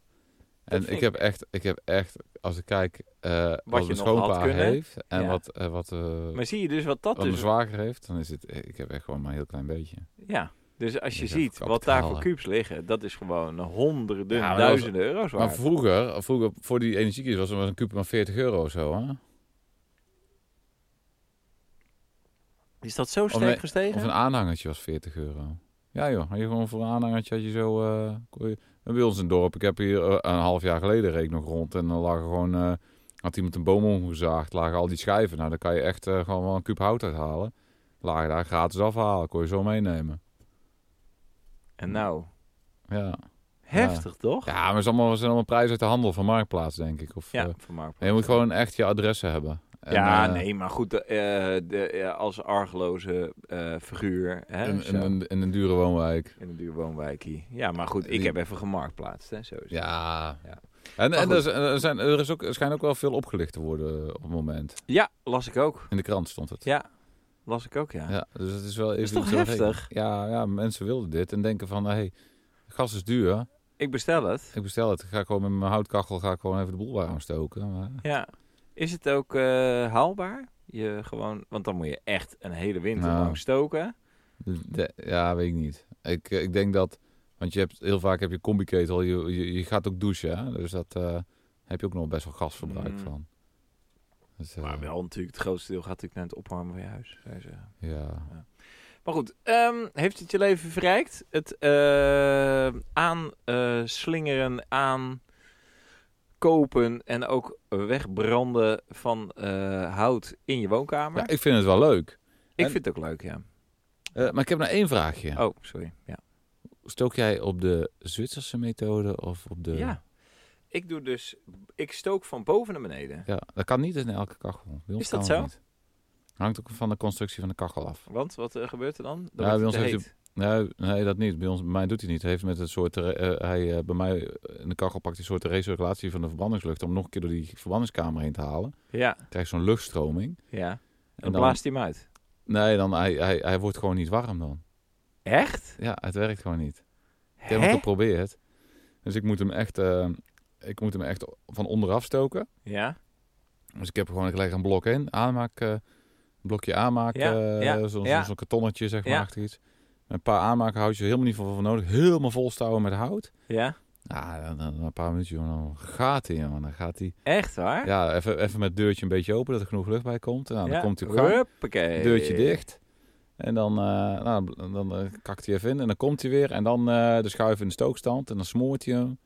En ik vind heb, echt, ik heb echt, als ik kijk eh, je nog wat, mijn had schoonpa kunnen. heeft en Ja. wat, eh, wat, eh, Maar zie je dus wat dat wat mijn dus... zwager heeft, dan is het, eh, ik heb echt gewoon maar een heel klein beetje. Ja, dus als je Ik ga ziet even wat daar voor kapitalen. cubes liggen, dat is gewoon honderden, Ja, maar dat was- duizenden euro's waard. Maar vroeger, vroeger, voor die energiekies was er maar een kuub maar 40 euro of zo, hè? Is dat zo sterk nee, gestegen? Of een aanhangertje was 40 euro. Ja joh, had je gewoon voor een aanhangertje had je zo... eh, kon je- en bij ons in het dorp, ik heb hier eh, een half jaar geleden reed ik nog rond en dan lagen gewoon... eh, had iemand een boom omgezaagd, lagen al die schijven. Nou, dan kan je echt eh, gewoon wel een kuub hout uithalen. Lagen daar gratis afhalen, kon je zo meenemen. En nou, Ja, heftig toch? ja maar het is allemaal, het zijn allemaal prijzen uit de handel van Marktplaats, denk ik. Of, Ja, eh, voor Mark. en je moet gewoon echt je adressen hebben. En, ja, eh, nee, maar goed, de, eh, de, ja, als argeloze eh, figuur hè, In, zo, in, in, in, in een dure woonwijk. een duur woonwijkie. Ja, maar goed, ik Die- heb even gemarktplaatst, hè, zo is het. Ja. Ja. En, Maar en goed. er, zijn- er zijn, er is ook, er schijnt ook wel veel opgelicht te worden op het moment. Ja, las ik ook. In de krant stond het. Ja, las ik ook, ja. Ja, dus het is wel even... is toch iets wat- hey, heftig? ja, ja, mensen wilden dit en denken van... hey, gas is duur. Ik bestel het. Ik bestel het. Ik Ga gewoon met mijn houtkachel ga ik gewoon even de boel warm stoken. Maar, Ja. Is het ook eh, haalbaar? Je gewoon, want dan moet je echt een hele winter Nou. lang stoken. de- ja, weet ik niet. Ik, eh, ik denk dat... Want je hebt heel vaak heb je combi-ketel. Je, je, je gaat ook douchen. Hè? Dus dat eh, heb je ook nog best wel gasverbruik Mm. van. Dus, eh, Maar wel natuurlijk, het grootste deel gaat natuurlijk naar het opwarmen van je huis. zou je zeggen. Ja. Maar goed, ehm, heeft het je leven verrijkt? Het eh, aan aanslingeren, aan kopen en ook wegbranden van eh, hout in je woonkamer? ja, ik vind het wel leuk. ik en- vind het ook leuk, ja. Eh, maar ik heb nog één vraagje. Oh, sorry. Ja. Stook jij op de Zwitserse methode of op de... ja. Ik doe dus, ik stook van boven naar beneden. Ja, dat kan niet in elke kachel. Bij ons Is dat kan zo? Niet. Hangt ook van de constructie van de kachel af. Want wat eh, gebeurt er dan? Dan Ja, wordt bij het ons te heeft heet. Nee, nee, dat niet. Bij, ons, bij mij doet hij niet. Hij heeft met een soort... eh, hij, eh, bij mij in de kachel pakt hij een soort recirculatie van de verbrandingslucht... om nog een keer door die verbrandingskamer heen te halen. Ja, Krijg je zo'n luchtstroming. ja. En, En dan- blaast hij hem uit. Nee, dan, hij, hij, hij wordt gewoon niet warm dan. Echt? Ja, het werkt gewoon niet. Ik heb Hè? hem geprobeerd. Dus ik moet hem echt... eh, ik moet hem echt van onderaf stoken. Ja. Dus ik heb er gewoon gelijk een blok in. Aanmaak, eh, een blokje aanmaak, Ja, eh, ja, zo'n zo'n- ja. zo'n kartonnetje, zeg maar, Ja. achter iets. Met een paar aanmaken houd je helemaal niet van, van nodig. Helemaal volstouwen met hout. Ah, Ja. Ja, dan, dan- dan een paar minuutjes, jongen, dan gaat hij, jongen. Dan gaat hij. Echt waar? Ja, even, even met het deurtje een beetje open, dat er genoeg lucht bij komt. Nou, dan Ja. komt hij op gang. Huppakee. Deurtje dicht. En dan, eh, nou, dan eh, kakt hij even in en dan komt hij weer. En dan eh, de schuif in de stookstand en dan smoort hij hem.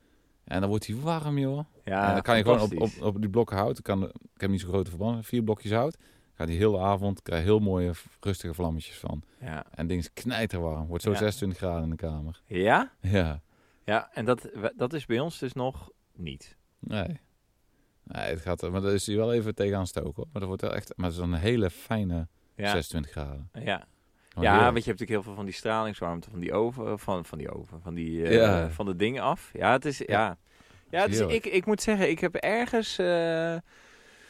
En dan wordt hij warm, joh. Ja, En dan kan je gewoon op, op, fantastisch. op die blokken hout. Ik, kan, ik heb niet zo'n grote verbranding. Vier blokjes hout. Ga die hele avond. Krijg je heel mooie, v- rustige vlammetjes van. Ja. En het ding is knijterwarm. Wordt zo Ja. 26 graden in de kamer. ja? Ja. Ja, en dat, dat is bij ons dus nog niet. Nee. Nee, het gaat. Maar daar is hij wel even tegenaan stoken. hoor. Maar dat wordt wel echt. Maar het is dan een hele fijne Ja, 26 graden. ja. Gewoon ja Oh, heerlijk. want je hebt natuurlijk heel veel van die stralingswarmte van die oven, eh, van, van die oven, van die eh, Ja. van de dingen af. Ja, het is, ja. Ja, het is, Heerlijk. ik, ik moet zeggen, ik heb ergens... eh,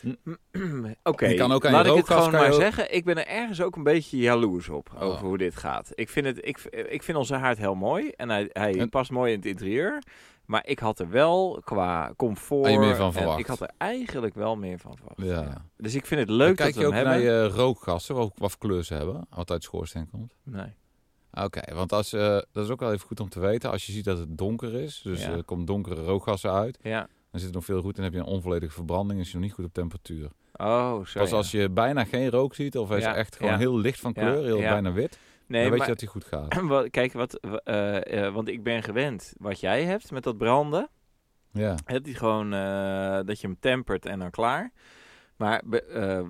Hm. Oké, Je kan ook aan je laat ik het rookgas gewoon kan je maar ook- zeggen. Ik ben er ergens ook een beetje jaloers op over Oh. hoe dit gaat. Ik vind, het, ik, ik vind onze haard heel mooi en hij, hij En- past mooi in het interieur. Maar ik had er wel qua comfort... Had je meer van en verwacht? Ik had er eigenlijk wel meer van verwacht. Ja. Dus ik vind het leuk Dan dat kijk we je hem ook hebben. naar je rookgassen. Wat, wat voor kleur ze hebben. Wat uit schoorsteen komt. Nee. Oké, want als, eh, dat is ook wel even goed om te weten. Als je ziet dat het donker is, dus Ja. er komt donkere rookgassen uit, Ja. dan zit er nog veel goed en heb je een onvolledige verbranding, is je nog niet goed op temperatuur. Oh, zo. Pas ja. als je bijna geen rook ziet, of hij is Ja, echt gewoon ja. heel licht van Ja, kleur, heel ja. bijna wit, nee, dan weet maar, je dat hij goed gaat. wat- kijk, wat, w- eh, eh, want ik ben gewend wat jij hebt met dat branden. Ja, Heb die gewoon eh, dat je hem tempert en dan klaar. Maar be- eh, eh,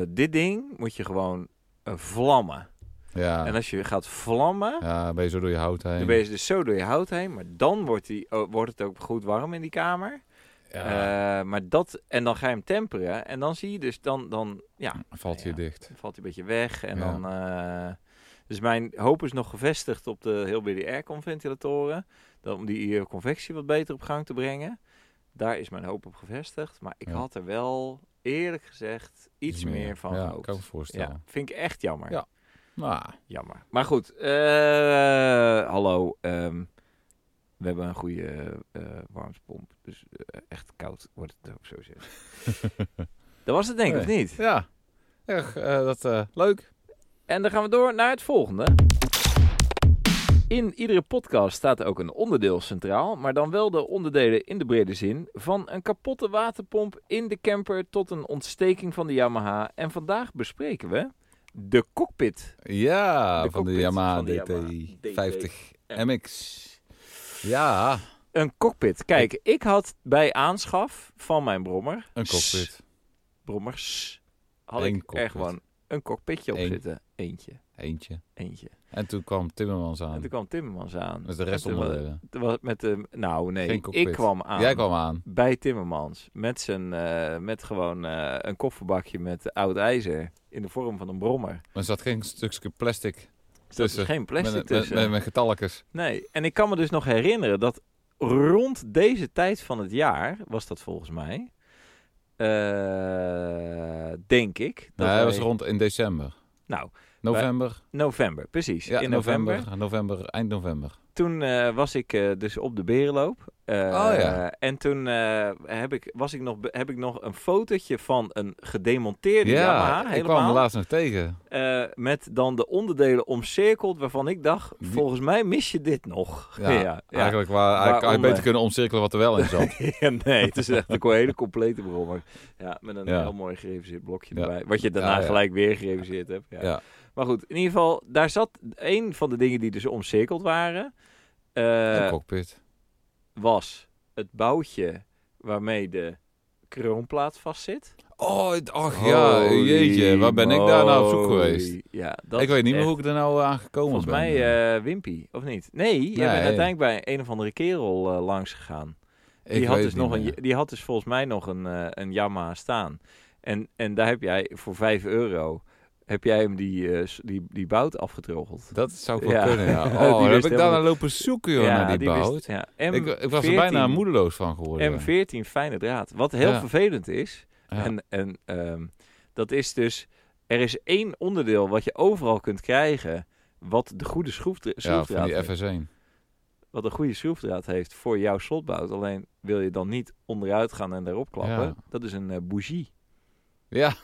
eh, dit ding moet je gewoon eh, vlammen. En ja. als je gaat vlammen, ja, ben je zo door je hout heen. dan ben je dus zo door je hout heen. Maar dan wordt, die, oh, wordt het ook goed warm in die kamer. ja, Eh, maar dat, en dan ga je hem temperen. En dan zie je dus, dan, dan ja, valt je ja. dicht. Dan valt hij een beetje weg en Ja. dan... eh, dus mijn hoop is nog gevestigd op de heel BDR airconventilatoren. Dan om die eh, convectie wat beter op gang te brengen. Daar is mijn hoop op gevestigd. Maar ik Ja. had er wel, eerlijk gezegd, iets meer, van Ja, gehoopt. kan ik me voorstellen. Ja, vind ik echt jammer. Ja. Nou, Jammer. Maar goed, eh, hallo. ehm, We hebben een goede eh, warmtepomp. Dus eh, echt koud wordt het ook zo zeggen. Dat was het denk ik, Nee. of niet? Ja, erg eh, dat, eh, leuk. En dan gaan we door naar het volgende. In iedere podcast staat ook een onderdeel centraal, maar dan wel de onderdelen in de brede zin. Van een kapotte waterpomp in de camper tot een ontsteking van de Yamaha. En vandaag bespreken we de cockpit. Ja, De van de cockpit Yamaha van de DT Yamaha 50 MX. Ja, Een cockpit. Kijk, ik had bij aanschaf van mijn brommer een cockpit. brommers had Eén ik er cockpit. gewoon een cockpitje op Eén. zitten. Eentje, Eentje. eentje. En toen kwam Timmermans En aan. toen kwam Timmermans aan. Met de rest En toen wa- onderdelen. toen was het met de, nou nee, Geen cockpit. ik kwam aan. Jij kwam aan. Bij Timmermans. Met, zijn, eh, met gewoon eh, een kofferbakje met oud ijzer. In de vorm van een brommer. Maar er zat geen stukje plastic Dus er tussen. is geen plastic met, met, tussen. met, met getalkes. Nee, en ik kan me dus nog herinneren dat rond deze tijd van het jaar, was dat volgens mij, eh, denk ik. Dat Nee, hij was wij- rond in december. Nou, November. november, precies. Ja, in november. november. november. eind november. Toen eh, was ik eh, dus op de berenloop. Eh, Oh ja. En toen eh, heb, ik, was ik nog, be- heb ik nog een fotootje van een gedemonteerde ja, Yamaha. ik helemaal. kwam hem laatst nog tegen. Eh, met dan de onderdelen omcirkeld waarvan ik dacht, Die- volgens mij mis je dit nog. Ja, ja, oh, ja. Eigenlijk waar, eigenlijk had je Waaronder. beter kunnen omcirkelen wat er wel in zat. Ja, nee, het is echt een hele complete brommer. Ja, met een Ja. heel mooi gereviseerd blokje Ja. erbij. Wat je daarna Ja, ja. gelijk weer gereviseerd hebt. Ja. Ja. Maar goed, in ieder geval, daar zat een van de dingen die dus omcirkeld waren. eh, een cockpit. was het boutje waarmee de kroonplaat vastzit. Oh, het- ach ja, jeetje. Waar ben ik daar nou op zoek Holy geweest? moly. Ja, dat ik weet niet meer echt- hoe ik er nou aan gekomen Volgens ben. mij eh, Wimpy, of niet? Nee, jij Nee. bent uiteindelijk bij een of andere kerel eh, langs gegaan. Ik die, had weet dus niet nog een, meer. die had dus volgens mij nog een, eh een Yamaha staan. En, en daar heb jij voor 5 euro heb jij hem die, eh, s- die, die bout afgedroogeld. Dat zou wel Ja. kunnen, ja. Die Oh, wist heb ik helemaal daar naar lopen zoeken, joh, naar die, wist- bout. ja, ik, M, ik was 14. er bijna moedeloos van geworden. ja. M14 fijne draad. Wat heel Ja. vervelend is. Ja. En, en ehm, dat is dus... Er is één onderdeel wat je overal kunt krijgen... wat de goede schroefdra- ja, schroefdraad van die heeft. FS1. wat een goede schroefdraad heeft voor jouw slotbout. Alleen wil je dan niet onderuit gaan en daarop klappen. Ja. Dat is een eh, bougie. Ja.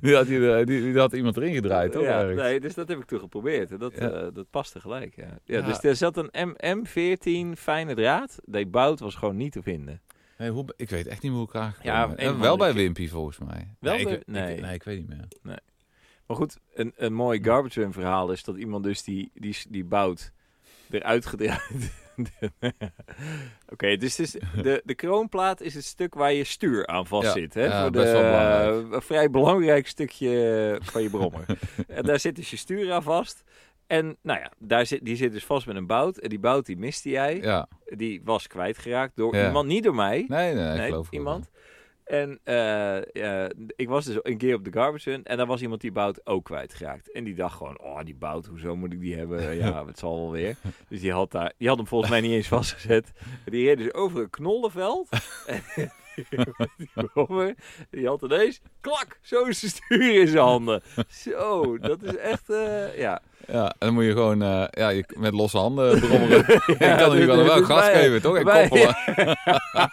die, had, hier, eh, die, die had iemand erin gedraaid, toch? ja, eigenlijk? nee, dus dat heb ik toen geprobeerd. En dat, Ja. eh, dat paste gelijk. Ja. Ja, Ja. Dus er zat een MM14 fijne draad. Die bout was gewoon niet te vinden. Nee, hoe, ik weet echt niet meer hoe ik aangekomen Ja, ben. een Eh, van Wel de bij keer. Wimpy, volgens mij. Wel nee, bij- ik, nee. Ik, nee, ik weet niet meer. Maar goed, een, een mooi garbage run verhaal is dat iemand dus die, die, die bout eruit gedraaid. Oké, dus, het is- de, de kroonplaat is het stuk waar je stuur aan vast Ja, zit. Hè? ja, Voor best de, wel belangrijk. een vrij belangrijk stukje van je brommer. en daar zit dus je stuur aan vast. En nou ja, daar zit, die zit dus vast met een bout. En die bout die miste jij. Ja. Die was kwijtgeraakt door Ja. iemand, niet door mij Nee, nee, nee, ik geloof ik wel. iemand. En eh, eh, ik was dus een keer op de garbage run en daar was iemand die bout ook kwijtgeraakt. En die dacht gewoon, oh die bout, hoezo moet ik die hebben? Ja, het zal wel weer. Dus die had, daar, die had hem volgens mij niet eens vastgezet. Die reed dus over een knollenveld. En die brommer, die had ineens, klak, zo is de stuur in zijn handen. Zo, dat is echt, eh, ja. Ja, en dan moet je gewoon eh, ja, je, met losse handen brommeren. ik Ja, kan er nu dit- wel dit wel is dus gas bij- geven, toch? En bij- koppelen. Ja.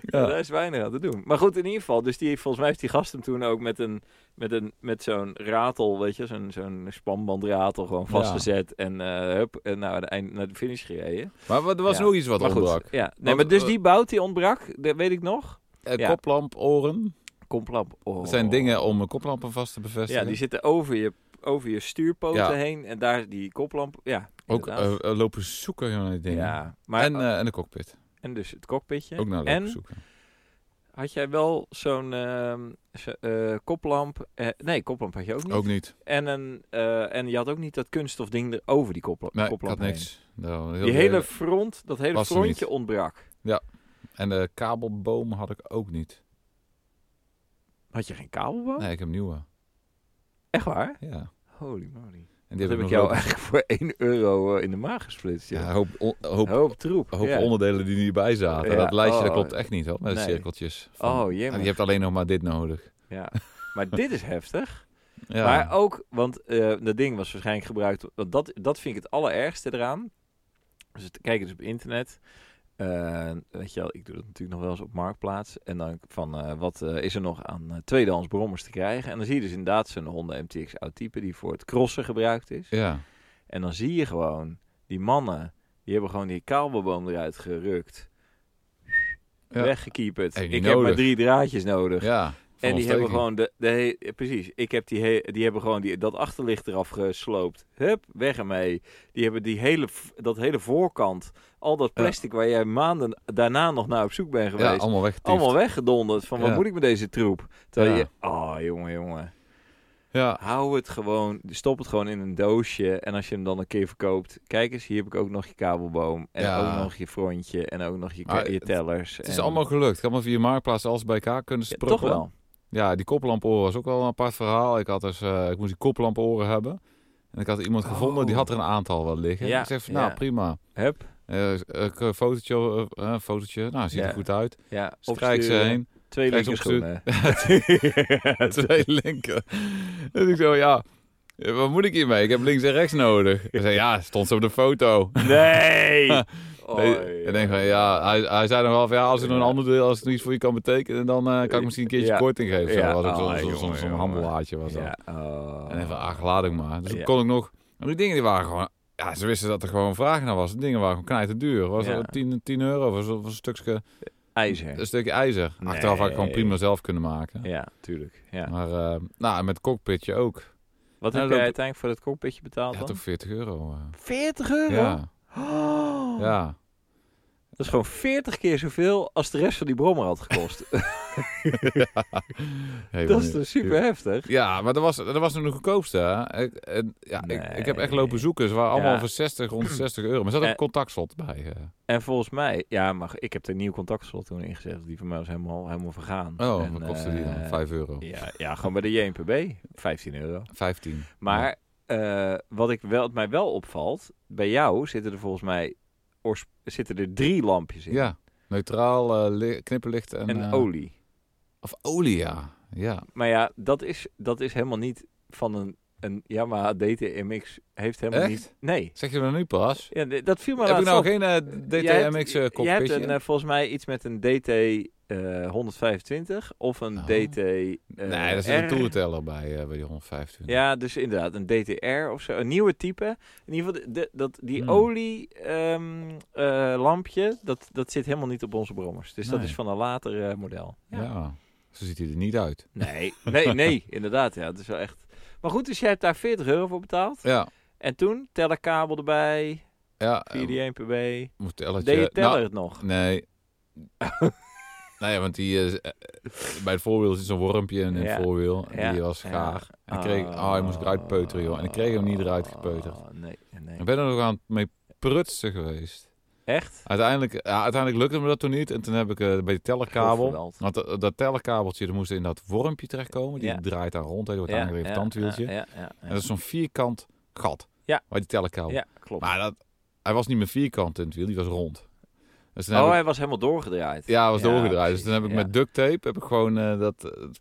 Ja. Daar is weinig aan te doen. Maar goed, in ieder geval. Dus die, volgens mij heeft die gast hem toen ook met, een, met, een, met zo'n ratel, weet je, zo'n, zo'n spanbandratel gewoon vastgezet. En eh hup, en nou, aan het eind, naar de finish gereden. Maar wat- er was Ja. nog iets wat maar goed, ontbrak. ja. Nee, Want, maar dus eh, die bout die ontbrak, dat weet ik nog. Eh, Ja. Koplamp, oren. Komplamp. Oh. Dat zijn dingen om eh, koplampen vast te Ja, bevestigen. die zitten over je, over je stuurpoten Ja. heen. En daar die koplamp, ja. Ook inderdaad. eh, eh, lopen zoeken naar die dingen. ja, maar, en, en, eh, en de cockpit. en dus het cockpitje. Ook naar lopen en zoeken. had jij wel zo'n ehm, zo- eh, koplamp? eh, nee, koplamp had je ook niet. Ook niet. En, een, eh, en je had ook niet dat kunststof ding erover die kopla- Nee, ik koplamp had heen. niks. Nou, heel Die de- hele front, dat hele Was er frontje niet. ontbrak. En de kabelboom had ik ook niet. Had je geen kabelboom? Nee, ik heb een nieuwe. Echt waar? Ja. Holy moly. En Dat heb ik nog jou lopen- eigenlijk voor 1 euro eh, in de maag gesplitst. Ja, Ja. een hoop, on- een hoop, Een hoop troep. een hoop ja. onderdelen die hierbij zaten. Ja, Dat lijstje dat oh. klopt echt niet hoor, met de Nee. cirkeltjes. Ah, Oh, En jemig. je hebt alleen nog maar dit nodig. Ja. Maar dit is heftig. Ja. Maar oh. ook, want eh, dat ding was waarschijnlijk gebruikt. Want dat, dat vind ik het allerergste eraan. Dus het kijken dus op internet. Eh, weet je wel, ik doe dat natuurlijk nog wel eens op Marktplaats. En dan van, eh, wat eh, is er nog aan eh, tweedehands brommers te krijgen? En dan zie je dus inderdaad zo'n Honda MTX oud type die voor het crossen gebruikt is. ja. En dan zie je gewoon, die mannen, die hebben gewoon die kabelboom eruit gerukt. Ja. Weggekieperd. Hey, ik niet heb maar nodig. drie draadjes nodig. ja. En die hebben Ontsteking. gewoon de, de he- precies. Ik heb die, he- die hebben gewoon die, dat achterlicht eraf gesloopt. Hup, weg ermee. Die hebben die hele, v- dat hele voorkant, al dat plastic waar jij maanden daarna nog naar op zoek bent geweest, Ja, allemaal weg. allemaal weggedonderd. Van wat Ja. moet ik met deze troep? Terwijl Ja. je, oh jongen, jongen, Ja. hou het gewoon, stop het gewoon in een doosje. En als je hem dan een keer verkoopt, kijk eens, hier heb ik ook nog je kabelboom en Ja. ook nog je frontje en ook nog je, Maar je het- tellers. Het is en- allemaal gelukt. Ik had maar via Marktplaats alles bij elkaar kunnen Ja, sprokkelen. toch wel. Ja, die koplamporen was ook wel een apart verhaal. Ik, had dus, eh, ik moest die koplamporen hebben. En ik had iemand gevonden, die Oh. had er een aantal wel liggen. Ja, ik zeg van, nou ja. prima. Hup, Eh, ik, eh, fotootje, eh, eh, fotootje, nou ziet Ja. er goed uit. ja, Strijk ze opsturen. heen. Twee Krijg je linker schoenen. twee linker. Dus ik zo, ja, eh, wat moet ik hiermee? Ik heb links en rechts nodig. Hij zei, ja, stond ze op de foto. Nee! Oh, Nee, ik denk van, ja, hij, hij zei nog wel van, ja, als er een Ja. ander deel, als het niets voor je kan betekenen, dan eh, kan ik misschien een keertje Ja. korting geven. Zo, Ja, was ook zo- oh, zo- jongen, zo'n zo'n jongen. handelaartje was dat. Ja, oh. En even, ach, laat ik maar. Dus Ja. toen kon ik nog, maar die dingen die waren gewoon, ja, ze wisten dat er gewoon vraag naar was. Die dingen waren gewoon knijten duur. Was Ja. dat 10, 10 euro, was, was een stukje, IJzer. een stukje ijzer. Achteraf had ik gewoon Nee. prima zelf kunnen maken. Ja, tuurlijk. Ja. Maar eh, nou, met cockpitje ook. Wat Nou, heb loop- jij uiteindelijk voor dat cockpitje betaald Ja, dan? toch 40 euro. eh. 40 euro? Ja, Oh, ja. Dat is gewoon 40 keer zoveel als de rest van die brommer had gekost. Hey, Oh. dat is man. toch super heftig? Ja, maar dat was, dat was nog de goedkoopste. Hè? Ik, en, ja, ik, ik heb echt Nee. lopen zoeken. Ze waren allemaal Ja. voor 60, rond de 60 euro. Maar er zat ook Eh. een contactslot bij. eh. En volgens mij, ja, maar ik heb er een nieuw contactslot toen ingezet. Die van mij was helemaal, helemaal vergaan. Oh, En, wat kostte die dan? eh, 5 euro. Ja, ja, gewoon bij de JNPB. 15 euro. 15. Maar eh, wat, ik wel, wat mij wel opvalt, bij jou zitten er volgens mij oors- zitten er drie lampjes in. Ja, neutraal, eh, li- knipperlicht en... en eh, olie. Of olie, ja. Ja, Maar ja, dat is, dat is helemaal niet van een, een Yamaha DTMX. Heeft helemaal Echt? niet... Nee. Zeg je dat nou nu pas? Ja, d- dat viel me heb ik laatst nou op. geen eh, Jij hebt- DTMX eh Je hebt cockpitje? een, eh, volgens mij iets met een DT eh, 125 of een Oh. DT... eh, nee, daar zit een R. toerenteller bij, eh, bij die 125. Ja, dus inderdaad, een DTR of zo. Een nieuwe type. In ieder geval, de, dat, die Hmm. olie olielampje, dat, dat zit helemaal niet op onze brommers. Dus dat Nee. is van een later eh, model. Ja. Zo ziet hij er niet uit. Nee, nee, nee, inderdaad. Ja, het is wel echt... Maar goed, dus jij hebt daar 40 euro voor betaald. Ja, En toen, tellerkabel erbij, ja. eh, 4D1 pb. Moet tellertje... Deed je teller Nou, het nog? Nee. nee, want die is, eh, bij het voorwiel zit zo'n wormpje in Ja. het voorwiel. En Ja. die was Ja. gaar. En ik kreeg, oh, hij moest ik eruit peuteren, joh. En ik kreeg hem niet eruit gepeuterd. Oh, nee, nee. Ik ben er nog aan het mee prutsen geweest. Echt? Uiteindelijk, ja, uiteindelijk lukte me dat toen niet. En toen heb ik eh, bij de tellerkabel... Geweld. Want dat, dat tellerkabeltje, dat moest in dat wormpje terechtkomen. Die Ja. draait daar rond, hè, die wordt Ja, aangedreven ja, tandwieltje. Ja, ja, ja, En dat is zo'n vierkant gat. Ja. Waar die tellerkabel... Ja, klopt. Maar dat, hij was niet meer vierkant in het wiel, die was rond. Dus toen heb Oh, ik- hij was helemaal doorgedraaid. Ja, was Ja, doorgedraaid. precies, Dus toen heb ik ja. met duct tape heb ik gewoon eh, dat eh, een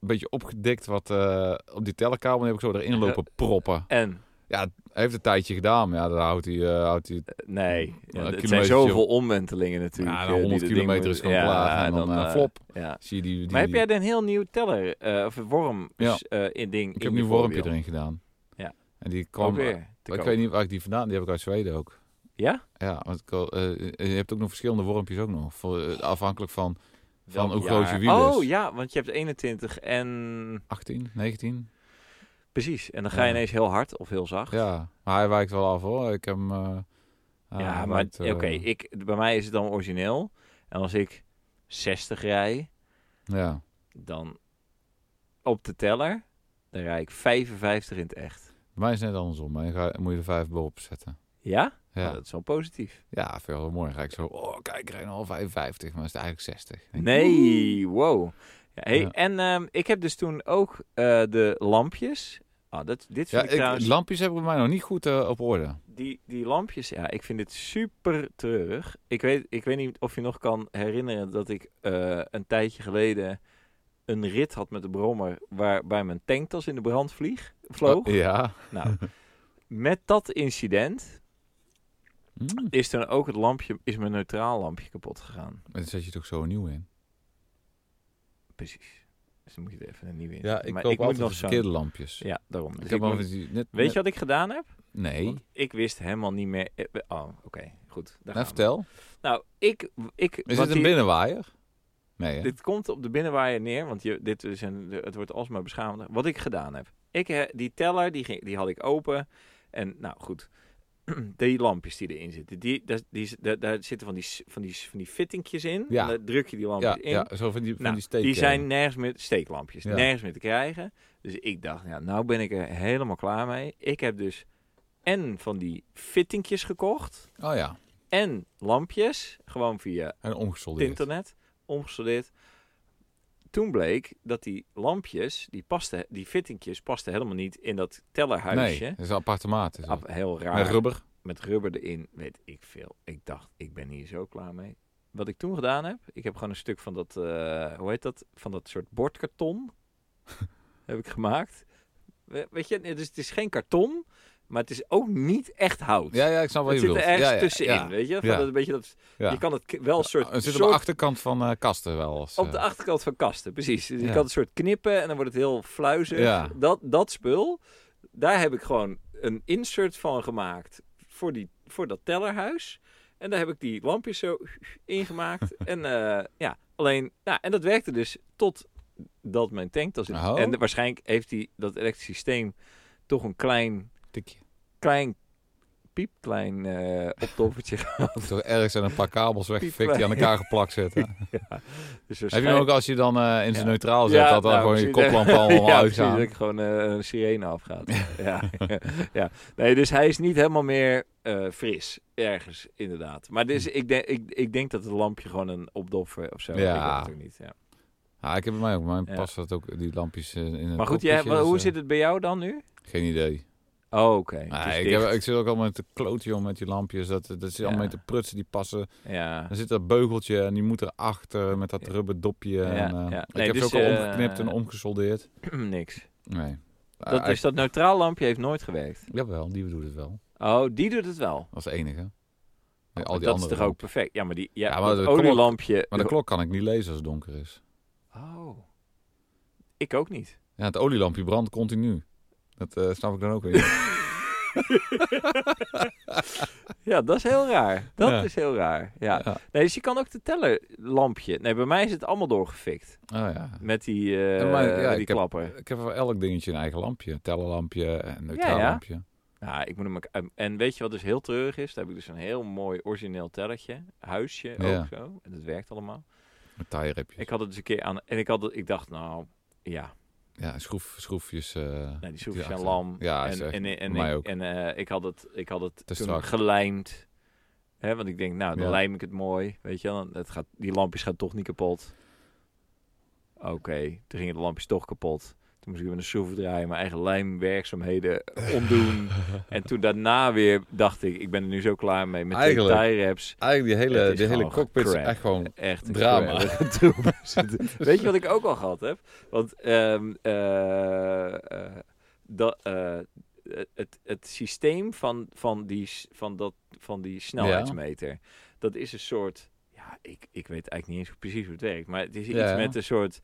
beetje opgedikt wat eh, op die tellerkabel. En heb ik zo erin lopen proppen. En Hij heeft een tijdje gedaan, maar ja, dan houdt hij... eh, houdt hij eh, nee, Oh, een het zijn kilometertje zoveel omwentelingen natuurlijk. ja, eh, die 100 dat kilometer ding is gewoon moet- ja, klaar. En dan, eh, eh, flop, Ja. zie je die... die Maar heb jij een heel nieuw teller eh, of worm Ja. is, eh, in ding? Ik in heb je nu wormpje voorwiel? erin gedaan. Ja. En die Ook kwam... weer te ik koop. weet niet waar ik die vandaan... Die heb ik uit Zweden ook. Ja? Ja, want ik, wil, eh, je hebt ook nog verschillende wormpjes ook nog. Voor, eh, afhankelijk van Van Welk hoe groot jaar? je wiel is. Oh ja, want je hebt 21 en 18, 19. precies. En dan ga je Ja. ineens heel hard of heel zacht. Ja, maar hij wijkt wel af hoor. Ik heb hem... eh, hij Ja, maar wijkt, oké, eh, ik- bij mij is het dan origineel. En als ik 60 rij, Ja. dan op de teller, dan rij ik 55 in het echt. Bij mij is het net andersom. maar Dan ga, moet je er vijf boven zetten. Ja? Nou, Ja, dat is wel positief. ja veel wel mooi. Dan ga ik zo, oh kijk, ik rijd al 55, maar is het eigenlijk 60. Dan denk ik, Nee, wow. Ja, hey, Ja. En ehm, ik heb dus toen ook eh, de lampjes. Ah, dat, dit vind Ja, ik, ik, trouwens... lampjes hebben bij mij nog niet goed eh, op orde. Die, die lampjes, ja, ik vind dit super treurig. Ik weet, ik weet niet of je nog kan herinneren dat ik eh, een tijdje geleden een rit had met de brommer waarbij mijn tanktas in de brand vlieg, vloog. Oh, Ja. Nou, met dat incident Hm, is toen ook het lampje, is mijn neutraal lampje kapot gegaan. Maar dan zet je toch zo een nieuw in? Precies. Dus dan moet je er even een nieuwe in. Ja, zetten. ik Maar koop moet altijd nog de zo'n- verkeerde lampjes. Ja, daarom. Dus ik ik heb moet- altijd die- net, Weet je net- wat ik gedaan heb? Nee. Want ik wist helemaal niet meer. eh, Oh, oké, goed. Daar nou, gaan we. vertel. Nou, ik. ik Is wat het een hier- binnenwaaier? Nee, hè? Dit komt op de binnenwaaier neer, want je, dit is een, het wordt alsmaar beschamender. Wat ik gedaan heb. Ik, eh, die teller, die, ging, die had ik open. En nou goed, die lampjes die erin zitten, die, daar, die, daar, daar zitten van die, s- van, die, s- van die fittingjes in. Ja. En Daar druk je die lampjes Ja, in. ja, zo van die, van Nou, die steek. eh. Die zijn nergens meer, steeklampjes, Ja. nergens meer te krijgen. Dus ik dacht, ja, nou ben ik er helemaal klaar mee. Ik heb dus en van die fittingjes gekocht, Oh ja, en lampjes, gewoon via en het omgesoldeerd. internet, omgestudeerd. Toen bleek dat die lampjes, die, pasten, die fittingjes, pasten helemaal niet in dat tellerhuisje. Nee, dat is een appartement. Is dat. Ab- heel raar. Met rubber. Met rubber erin, weet ik veel. Ik dacht, ik ben hier zo klaar mee. Wat ik toen gedaan heb, ik heb gewoon een stuk van dat, eh, hoe heet dat, van dat soort bordkarton heb ik gemaakt. We- weet je, nee, dus het is geen karton, maar het is ook niet echt hout. Ja, ja, ik snap wat het je zit bedoelt. er ergens ja, ja, tussenin, ja, weet je? Van Ja. dat, een beetje dat, ja. Je kan het k- wel een soort... Ja, het zit op soort de achterkant van eh, kasten wel. Als, op de eh, achterkant van kasten, precies. Dus je Ja. kan een soort knippen en dan wordt het heel fluizig. Ja. Dat, dat spul, daar heb ik gewoon een insert van gemaakt voor, die, voor dat tellerhuis. En daar heb ik die lampjes zo ingemaakt. en eh, ja, alleen... Nou, en dat werkte dus tot dat mijn tanktas... in- Oh. En waarschijnlijk heeft die, dat elektrisch systeem toch een klein, tikje. klein piepklein eh optoffertje gehad. Toch ergens zijn een paar kabels weggefikt die Piepklein. aan elkaar geplakt zitten. Dus Heb je hem waarschijnlijk- ook als je dan eh, in zijn Ja. neutraal zet, dat dan nou, gewoon je precies. koplamp allemaal ja, precies, uitgaan? dat ik gewoon eh, een sirene afgaat. ja. ja. Nee, dus hij is niet helemaal meer eh, fris. Ergens, inderdaad. Maar dus, Hm. ik, denk, ik, ik denk dat het lampje gewoon een opdoffer of zo. Ja. Ik weet het ook niet, ja. Ja, ik heb bij mij ook. Mijn Ja. past dat ook, die lampjes eh, in een Maar goed, jij, koepeltje, maar dus, hoe eh, zit het bij jou dan nu? Geen idee. Oh, oké. het Nee, is ik, heb, dicht. ik zit ook allemaal te kloten, joh, met die lampjes. Dat, dat zit allemaal Ja. mee te prutsen, die passen. Ja. Dan zit dat beugeltje en die moet erachter met dat Ja. rubber dopje. Ja, en, eh, ja. Ik Nee, heb dus, ze ook al eh, omgeknipt en omgesoldeerd. Niks. Nee. Ah, Dat, dus dat neutraal lampje heeft nooit gewerkt. Jawel, die doet het wel. Oh, die doet het wel. Als enige. Al die Oh, dat is andere toch ook lampjes. perfect? Ja, maar die ja, Ja, maar maar de dat klok- olielampje... Maar de klok kan ik niet lezen als het donker is. Oh. Ik ook niet. Ja, het olielampje brandt continu. Dat eh, snap ik dan ook weer. niet. Ja, dat is heel raar. Dat Ja. is heel raar. Ja. Ja. Nee, dus je kan ook de tellerlampje. Nee, bij mij is het allemaal doorgefikt. Oh ja. Met die, eh, Ja, maar, ja, met die ik heb- klapper. Ik heb voor elk dingetje een eigen lampje. Een tellerlampje, een neutraal ja. lampje. Nou, ik moet hem ook- en weet je wat dus heel treurig is? Daar heb ik dus een heel mooi origineel tellertje. Huisje Ja. ook zo. En dat werkt allemaal. Een taaieripje. Ik had het dus een keer aan... En ik, had het, ik dacht, nou, ja. Ja, schroef, schroefjes. eh, Nou, die soepjes die zijn achter- lam. Ja, is en echt en, en, en, bij mij ik, ook. en eh, ik had het, ik had het Te toen strak. gelijmd. Hè, want ik denk, nou, dan Ja. lijm ik het mooi. Weet je wel, dan- het gaat, die lampjes gaan toch niet kapot. Oké, toen gingen de lampjes toch kapot. Toen moest ik weer een schroef draaien, mijn eigen lijmwerkzaamheden omdoen. en toen daarna weer dacht ik, ik ben er nu zo klaar mee met die Eigenlijk- tie wraps. Eigenlijk die Het hele, is die hele gewoon cockpit is crap. echt gewoon... Echt een Drama. geweldige troep. Weet je wat ik ook al gehad heb? Want ehm, eh, eh, dat, eh, het, het systeem van, van, die, s- van, dat, van die snelheidsmeter, dat is een soort. Ja, ik, ik weet eigenlijk niet eens precies hoe het werkt, maar het is iets Ja. met een soort.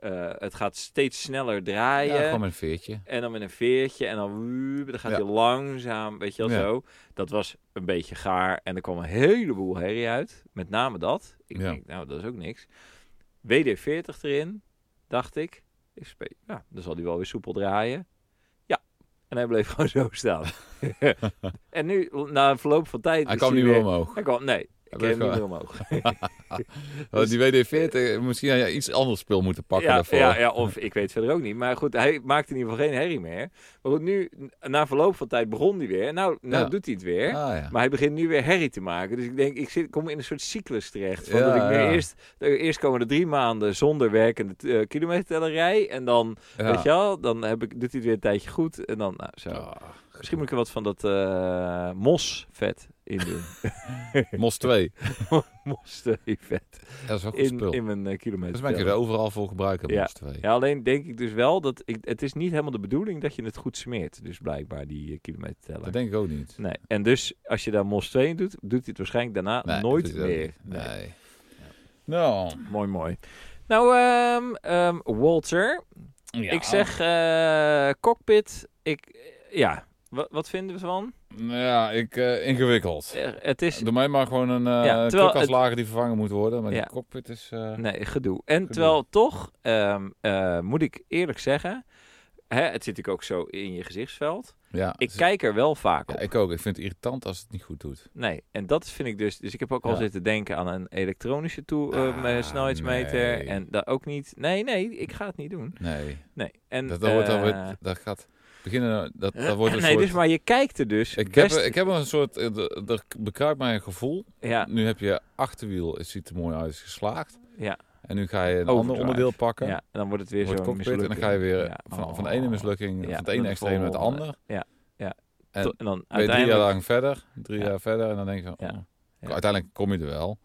eh, het gaat steeds sneller Ja, draaien. gewoon met een veertje. En dan met een veertje en dan, wuup, dan gaat Ja. hij langzaam, weet je wel Ja. zo. Dat was een beetje gaar en er kwam een heleboel herrie uit. Met name dat. Ik Ja. denk, nou, dat is ook niks. WD-40 erin, dacht ik. ik spe- ja, dan zal hij wel weer soepel draaien. Ja, en hij bleef gewoon zo staan. en nu, na een verloop van tijd... Hij is kwam niet meer weer- omhoog. Hij kwam, nee, ik bleef heb hem niet gewoon- meer omhoog. Oh, Die WD-40, misschien had je iets anders spul moeten pakken Dus- ja, daarvoor. Ja, ja, of ik weet verder ook niet. Maar goed, hij maakte in ieder geval geen herrie meer. Maar goed, nu, na verloop van tijd begon hij weer. Nou, nou Ja. doet hij het weer. Ah, ja. Maar hij begint nu weer herrie te maken. Dus ik denk, ik zit, kom in een soort cyclus terecht. Van Ja, dat ik nu ja. eerst, dat ik eerst komen er drie maanden zonder werkende eh kilometerteller rij. En dan, Ja. weet je wel, dan heb ik, doet hij het weer een tijdje goed. En dan, nou, zo. Ah, Misschien moet ik er wat van dat eh mosvet. in doen. Mos 2. Mosten vet. Dat is ook goed In, spul. in mijn eh, dus kilometer. ben je er overal voor gebruiken, Mos 2. Ja, alleen denk ik dus wel dat ik, het is niet helemaal de bedoeling dat je het goed smeert. Dus blijkbaar die eh, kilometer Dat teller. denk ik ook niet. Nee. En dus als je daar mos 2 in doet, doet hij het waarschijnlijk daarna Nee, nooit dat doe ik ook meer. niet. Nee. Nee. Nou, Mooi, mooi. Nou, ehm, ehm, Walter, ja. ik zeg eh, cockpit. Ik, eh, ja, wat, wat vinden we ervan? Ja, ik, eh, ingewikkeld. Eh, Het is Doe mij maar gewoon een eh terwijl terugkaslager die vervangen moet worden. Maar Ja. die cockpit is... eh, Nee, gedoe. En terwijl toch, ehm, eh, moet ik eerlijk zeggen, hè, het zit natuurlijk ook zo in je gezichtsveld. ja, Ik dus- kijk er wel vaak ja, op. ik ook. Ik vind het irritant als het niet goed doet. Nee, en dat vind ik dus. Dus ik heb ook al Ja. zitten denken aan een elektronische toe, eh, Ah, snelheidsmeter. nee. En dat ook niet. Nee, nee, ik ga het niet doen. Nee. Nee, en. Dat, dat, wordt, dan eh, weer- dat gaat beginnen... Dat, dat wordt een nee, soort... dus maar je kijkt er dus. ik, heb, best- ik heb een soort... eh, d- Er bekruipt mij een gevoel. Ja, Nu heb je achterwiel. Het ziet er mooi uit. is geslaagd. Ja. En nu ga je een ander Overdrive. onderdeel pakken. ja, en dan wordt het weer wordt zo'n cockpit mislukking. en dan ga je weer Ja, van, van de oh. ene mislukking, Ja, van het naar ene de extreem naar het volgende. ander. En, dan en Ben je drie jaar uiteindelijk lang verder, drie Ja. jaar verder en dan denk je van, Ja. oh. Ja. uiteindelijk kom je er wel.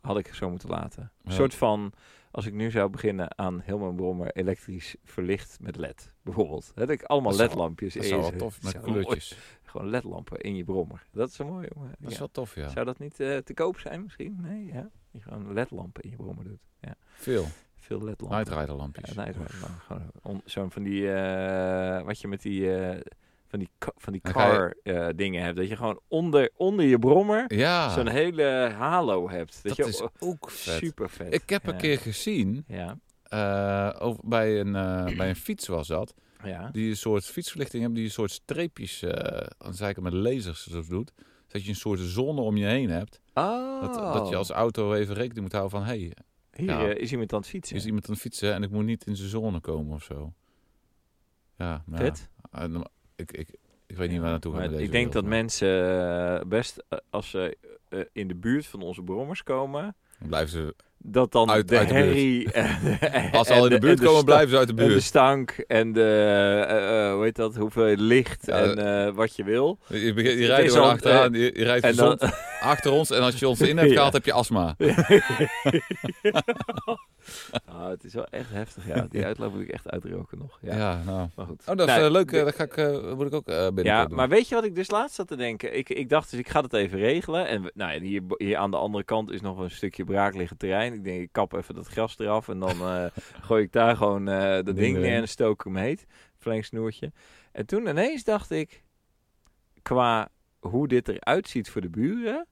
had ik zo moeten laten. Een Ja. soort van, als ik nu zou beginnen aan heel mijn brommer elektrisch verlicht met led, bijvoorbeeld. Hè, Dat ik allemaal Dat zou- ledlampjes Dat in is wel je- wat tof, met Zo kleurtjes. mooi. Gewoon ledlampen in je brommer. Dat is zo mooi, jongen. Dat is Ja. wel tof, ja. Zou dat niet eh, te koop zijn misschien? Nee, ja. Je gewoon ledlampen in je brommer doet. Ja. Veel. Veel ledlampen. Nightrider lampjes. Ja, nightrider. maar gewoon on- Zo'n van die, eh, wat je met die, eh, van die, ka- van die Dan ga je- car eh, dingen hebt. Dat je gewoon onder, onder je brommer Ja, zo'n hele halo hebt. Dat, Ah. dat je oh, is ook vet. super vet. Ik heb een Ja. keer gezien, Ja, eh, over, bij, een, eh, bij een fiets was dat, ja. die een soort fietsverlichting hebben, die een soort streepjes, eh, aan de zijkant met lasers zo doet. Dat je een soort zone om je heen hebt. Oh. Dat, dat je als auto even rekening moet houden van, hé, hey, Hier Ja. eh, is iemand aan het fietsen. is iemand aan het fietsen en ik moet niet in zijn zone komen of zo. Ja, nou, ja. Vet. Eh, nou, ik, ik, ik weet niet waar naartoe gaan Maar we deze ik denk dat wereld, mensen eh, best, eh, als ze eh, in de buurt van onze brommers komen, maar dan Blijven ze, dat dan Uit- de uit de buurt. herrie... en- als ze en al in de buurt en komen, sta- blijven ze uit de En de buurt. stank en de, eh, eh, hoe heet dat, hoeveel licht Ja, en eh, wat je wil. Je, je, begint- je het rijdt is gewoon al- achteraan, je, je rijdt En dan, gezond achter ons en als je ons in hebt Ja. gehaald, heb je astma. Ah, het is wel echt heftig, ja. Die uitloop moet ik echt uitroken nog. Ja, Ja, nou. maar goed. Oh, dat is Nou, eh, leuk. de- eh, dat ga ik, eh, moet ik ook eh binnenkort Ja, doen. maar weet je wat ik dus laatst zat te denken? Ik, ik dacht dus, ik ga dat even regelen. En we- nou, en hier, hier aan de andere kant is nog een stukje braakliggend terrein. Ik denk, ik kap even dat gras eraf en dan eh, gooi ik daar gewoon eh, dat Ding ding neer erin. en stook ik hem heet. Verlengsnoertje. En toen ineens dacht ik, qua hoe dit eruit ziet voor de buren,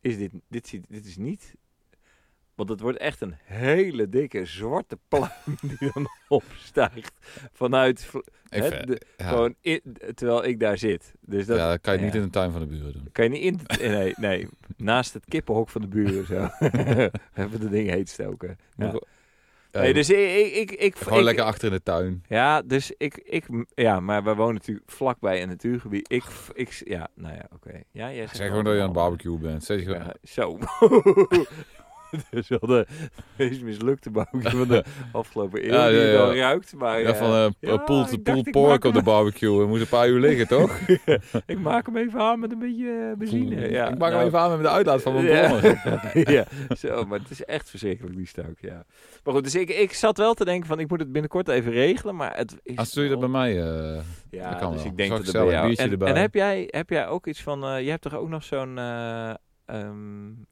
is dit, dit, ziet, dit is niet... Want het wordt echt een hele dikke zwarte pluim die dan opstijgt vanuit... vl- Even, hè, de- ja, gewoon in- terwijl ik daar zit. Dus dat ja, dat kan je niet ja. in de tuin van de buren doen. kan je niet in. eh, Nee, nee. Naast het kippenhok van de buren zo. Even de ding heet stoken. Ja. Moet ik- ja, Nee, dus ik. ik, ik, ik- Gewoon ik- lekker achter in de tuin. Ja, dus ik, ik. Ja, maar wij wonen natuurlijk vlakbij een natuurgebied. Ik. ik ja, nou ja, oké. Ja, jij zegt Zeg gewoon dat je aan het barbecue bent. Zeg je gewoon, Ja, zo. Dus wel de meest mislukte barbecue van de afgelopen eeuw. Ja, die ja, je ja. wel ruikt. Maar, Ja, eh, van eh ja, pool ik to dacht, pool ik maak pork op hem- de barbecue. Het moet een paar uur liggen, toch? ik maak hem even aan met een beetje eh, benzine. Ja, ik maak hem nou, even aan met de uitlaat van mijn Ja. brommer. ja, zo, maar het is echt verschrikkelijk, die stuk, ja. Maar goed, dus ik, ik zat wel te denken van, ik moet het binnenkort even regelen, maar het is... Als doe je Ah, dat bij wel- mij... eh, Ja, dat kan dus wel. ik denk Zo dat het bij gezellig, jou... biertje En, erbij. en heb, jij, heb jij ook iets van, eh, je hebt toch ook nog zo'n, eh, ehm,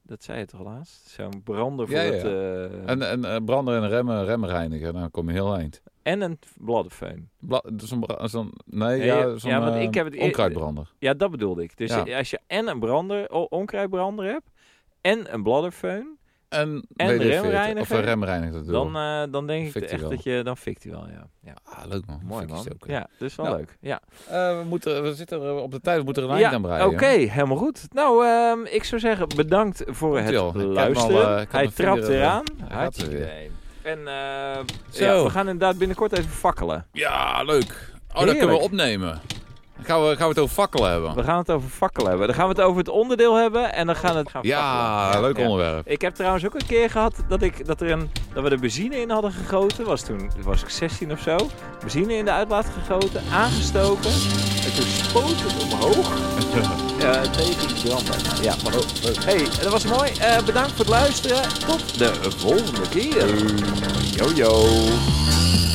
dat zei je toch laatst? Zo'n brander voor Ja, ja, het... ja. eh, en, en, en eh, brander en remmen, remmen reinigen. Nou, Dan kom je heel eind. een bladdenfeun. Bla, zo'n, bra- zo'n, nee, Ja, ja, ja, zo'n want eh, ik heb het eer- onkruidbrander. Ja, dat bedoelde ik. Dus Ja. eh, als je en een brander, o- onkruidbrander hebt, en een bladderfeun, En, En WD-40, remreiniger? Of een remreiniger dat dan, eh, dan denk ik Fikt hij echt wel. dat je, dan fikt hij wel, ja. ja. ah, leuk man. Mooi Vind ik man. zo cool. Ja, dus wel Nou, leuk. Ja. Eh, we, moeten, we zitten er op de tijd. We moeten er een eind aan breien. Oké, helemaal goed. Nou, ehm, ik zou zeggen bedankt voor Komt-ie het al. Ik heb hem luisteren. al, eh, ik had Hij mijn trapt vinger, eh, eraan. hij gaat Hartstikke er idee. En eh, Zo. ja, we gaan inderdaad binnenkort even fakkelen. Ja, leuk. Oh, dat Heerlijk. kunnen we opnemen. Gaan we, gaan we het over fakkelen hebben? We gaan het over fakkelen hebben. Dan gaan we het over het onderdeel hebben en dan gaan we het gaan Ja, fakkelen. leuk Ja. onderwerp. Ik heb trouwens ook een keer gehad dat, ik, dat, er een, dat we er benzine in hadden gegoten. Was toen was ik 16 of zo. Benzine in de uitlaat gegoten, aangestoken. En toen spoot het omhoog eh, tegen de brandweer. Ja, maar goed. hey, dat was mooi. Eh, bedankt voor het luisteren. Tot de volgende keer. Yo, yo.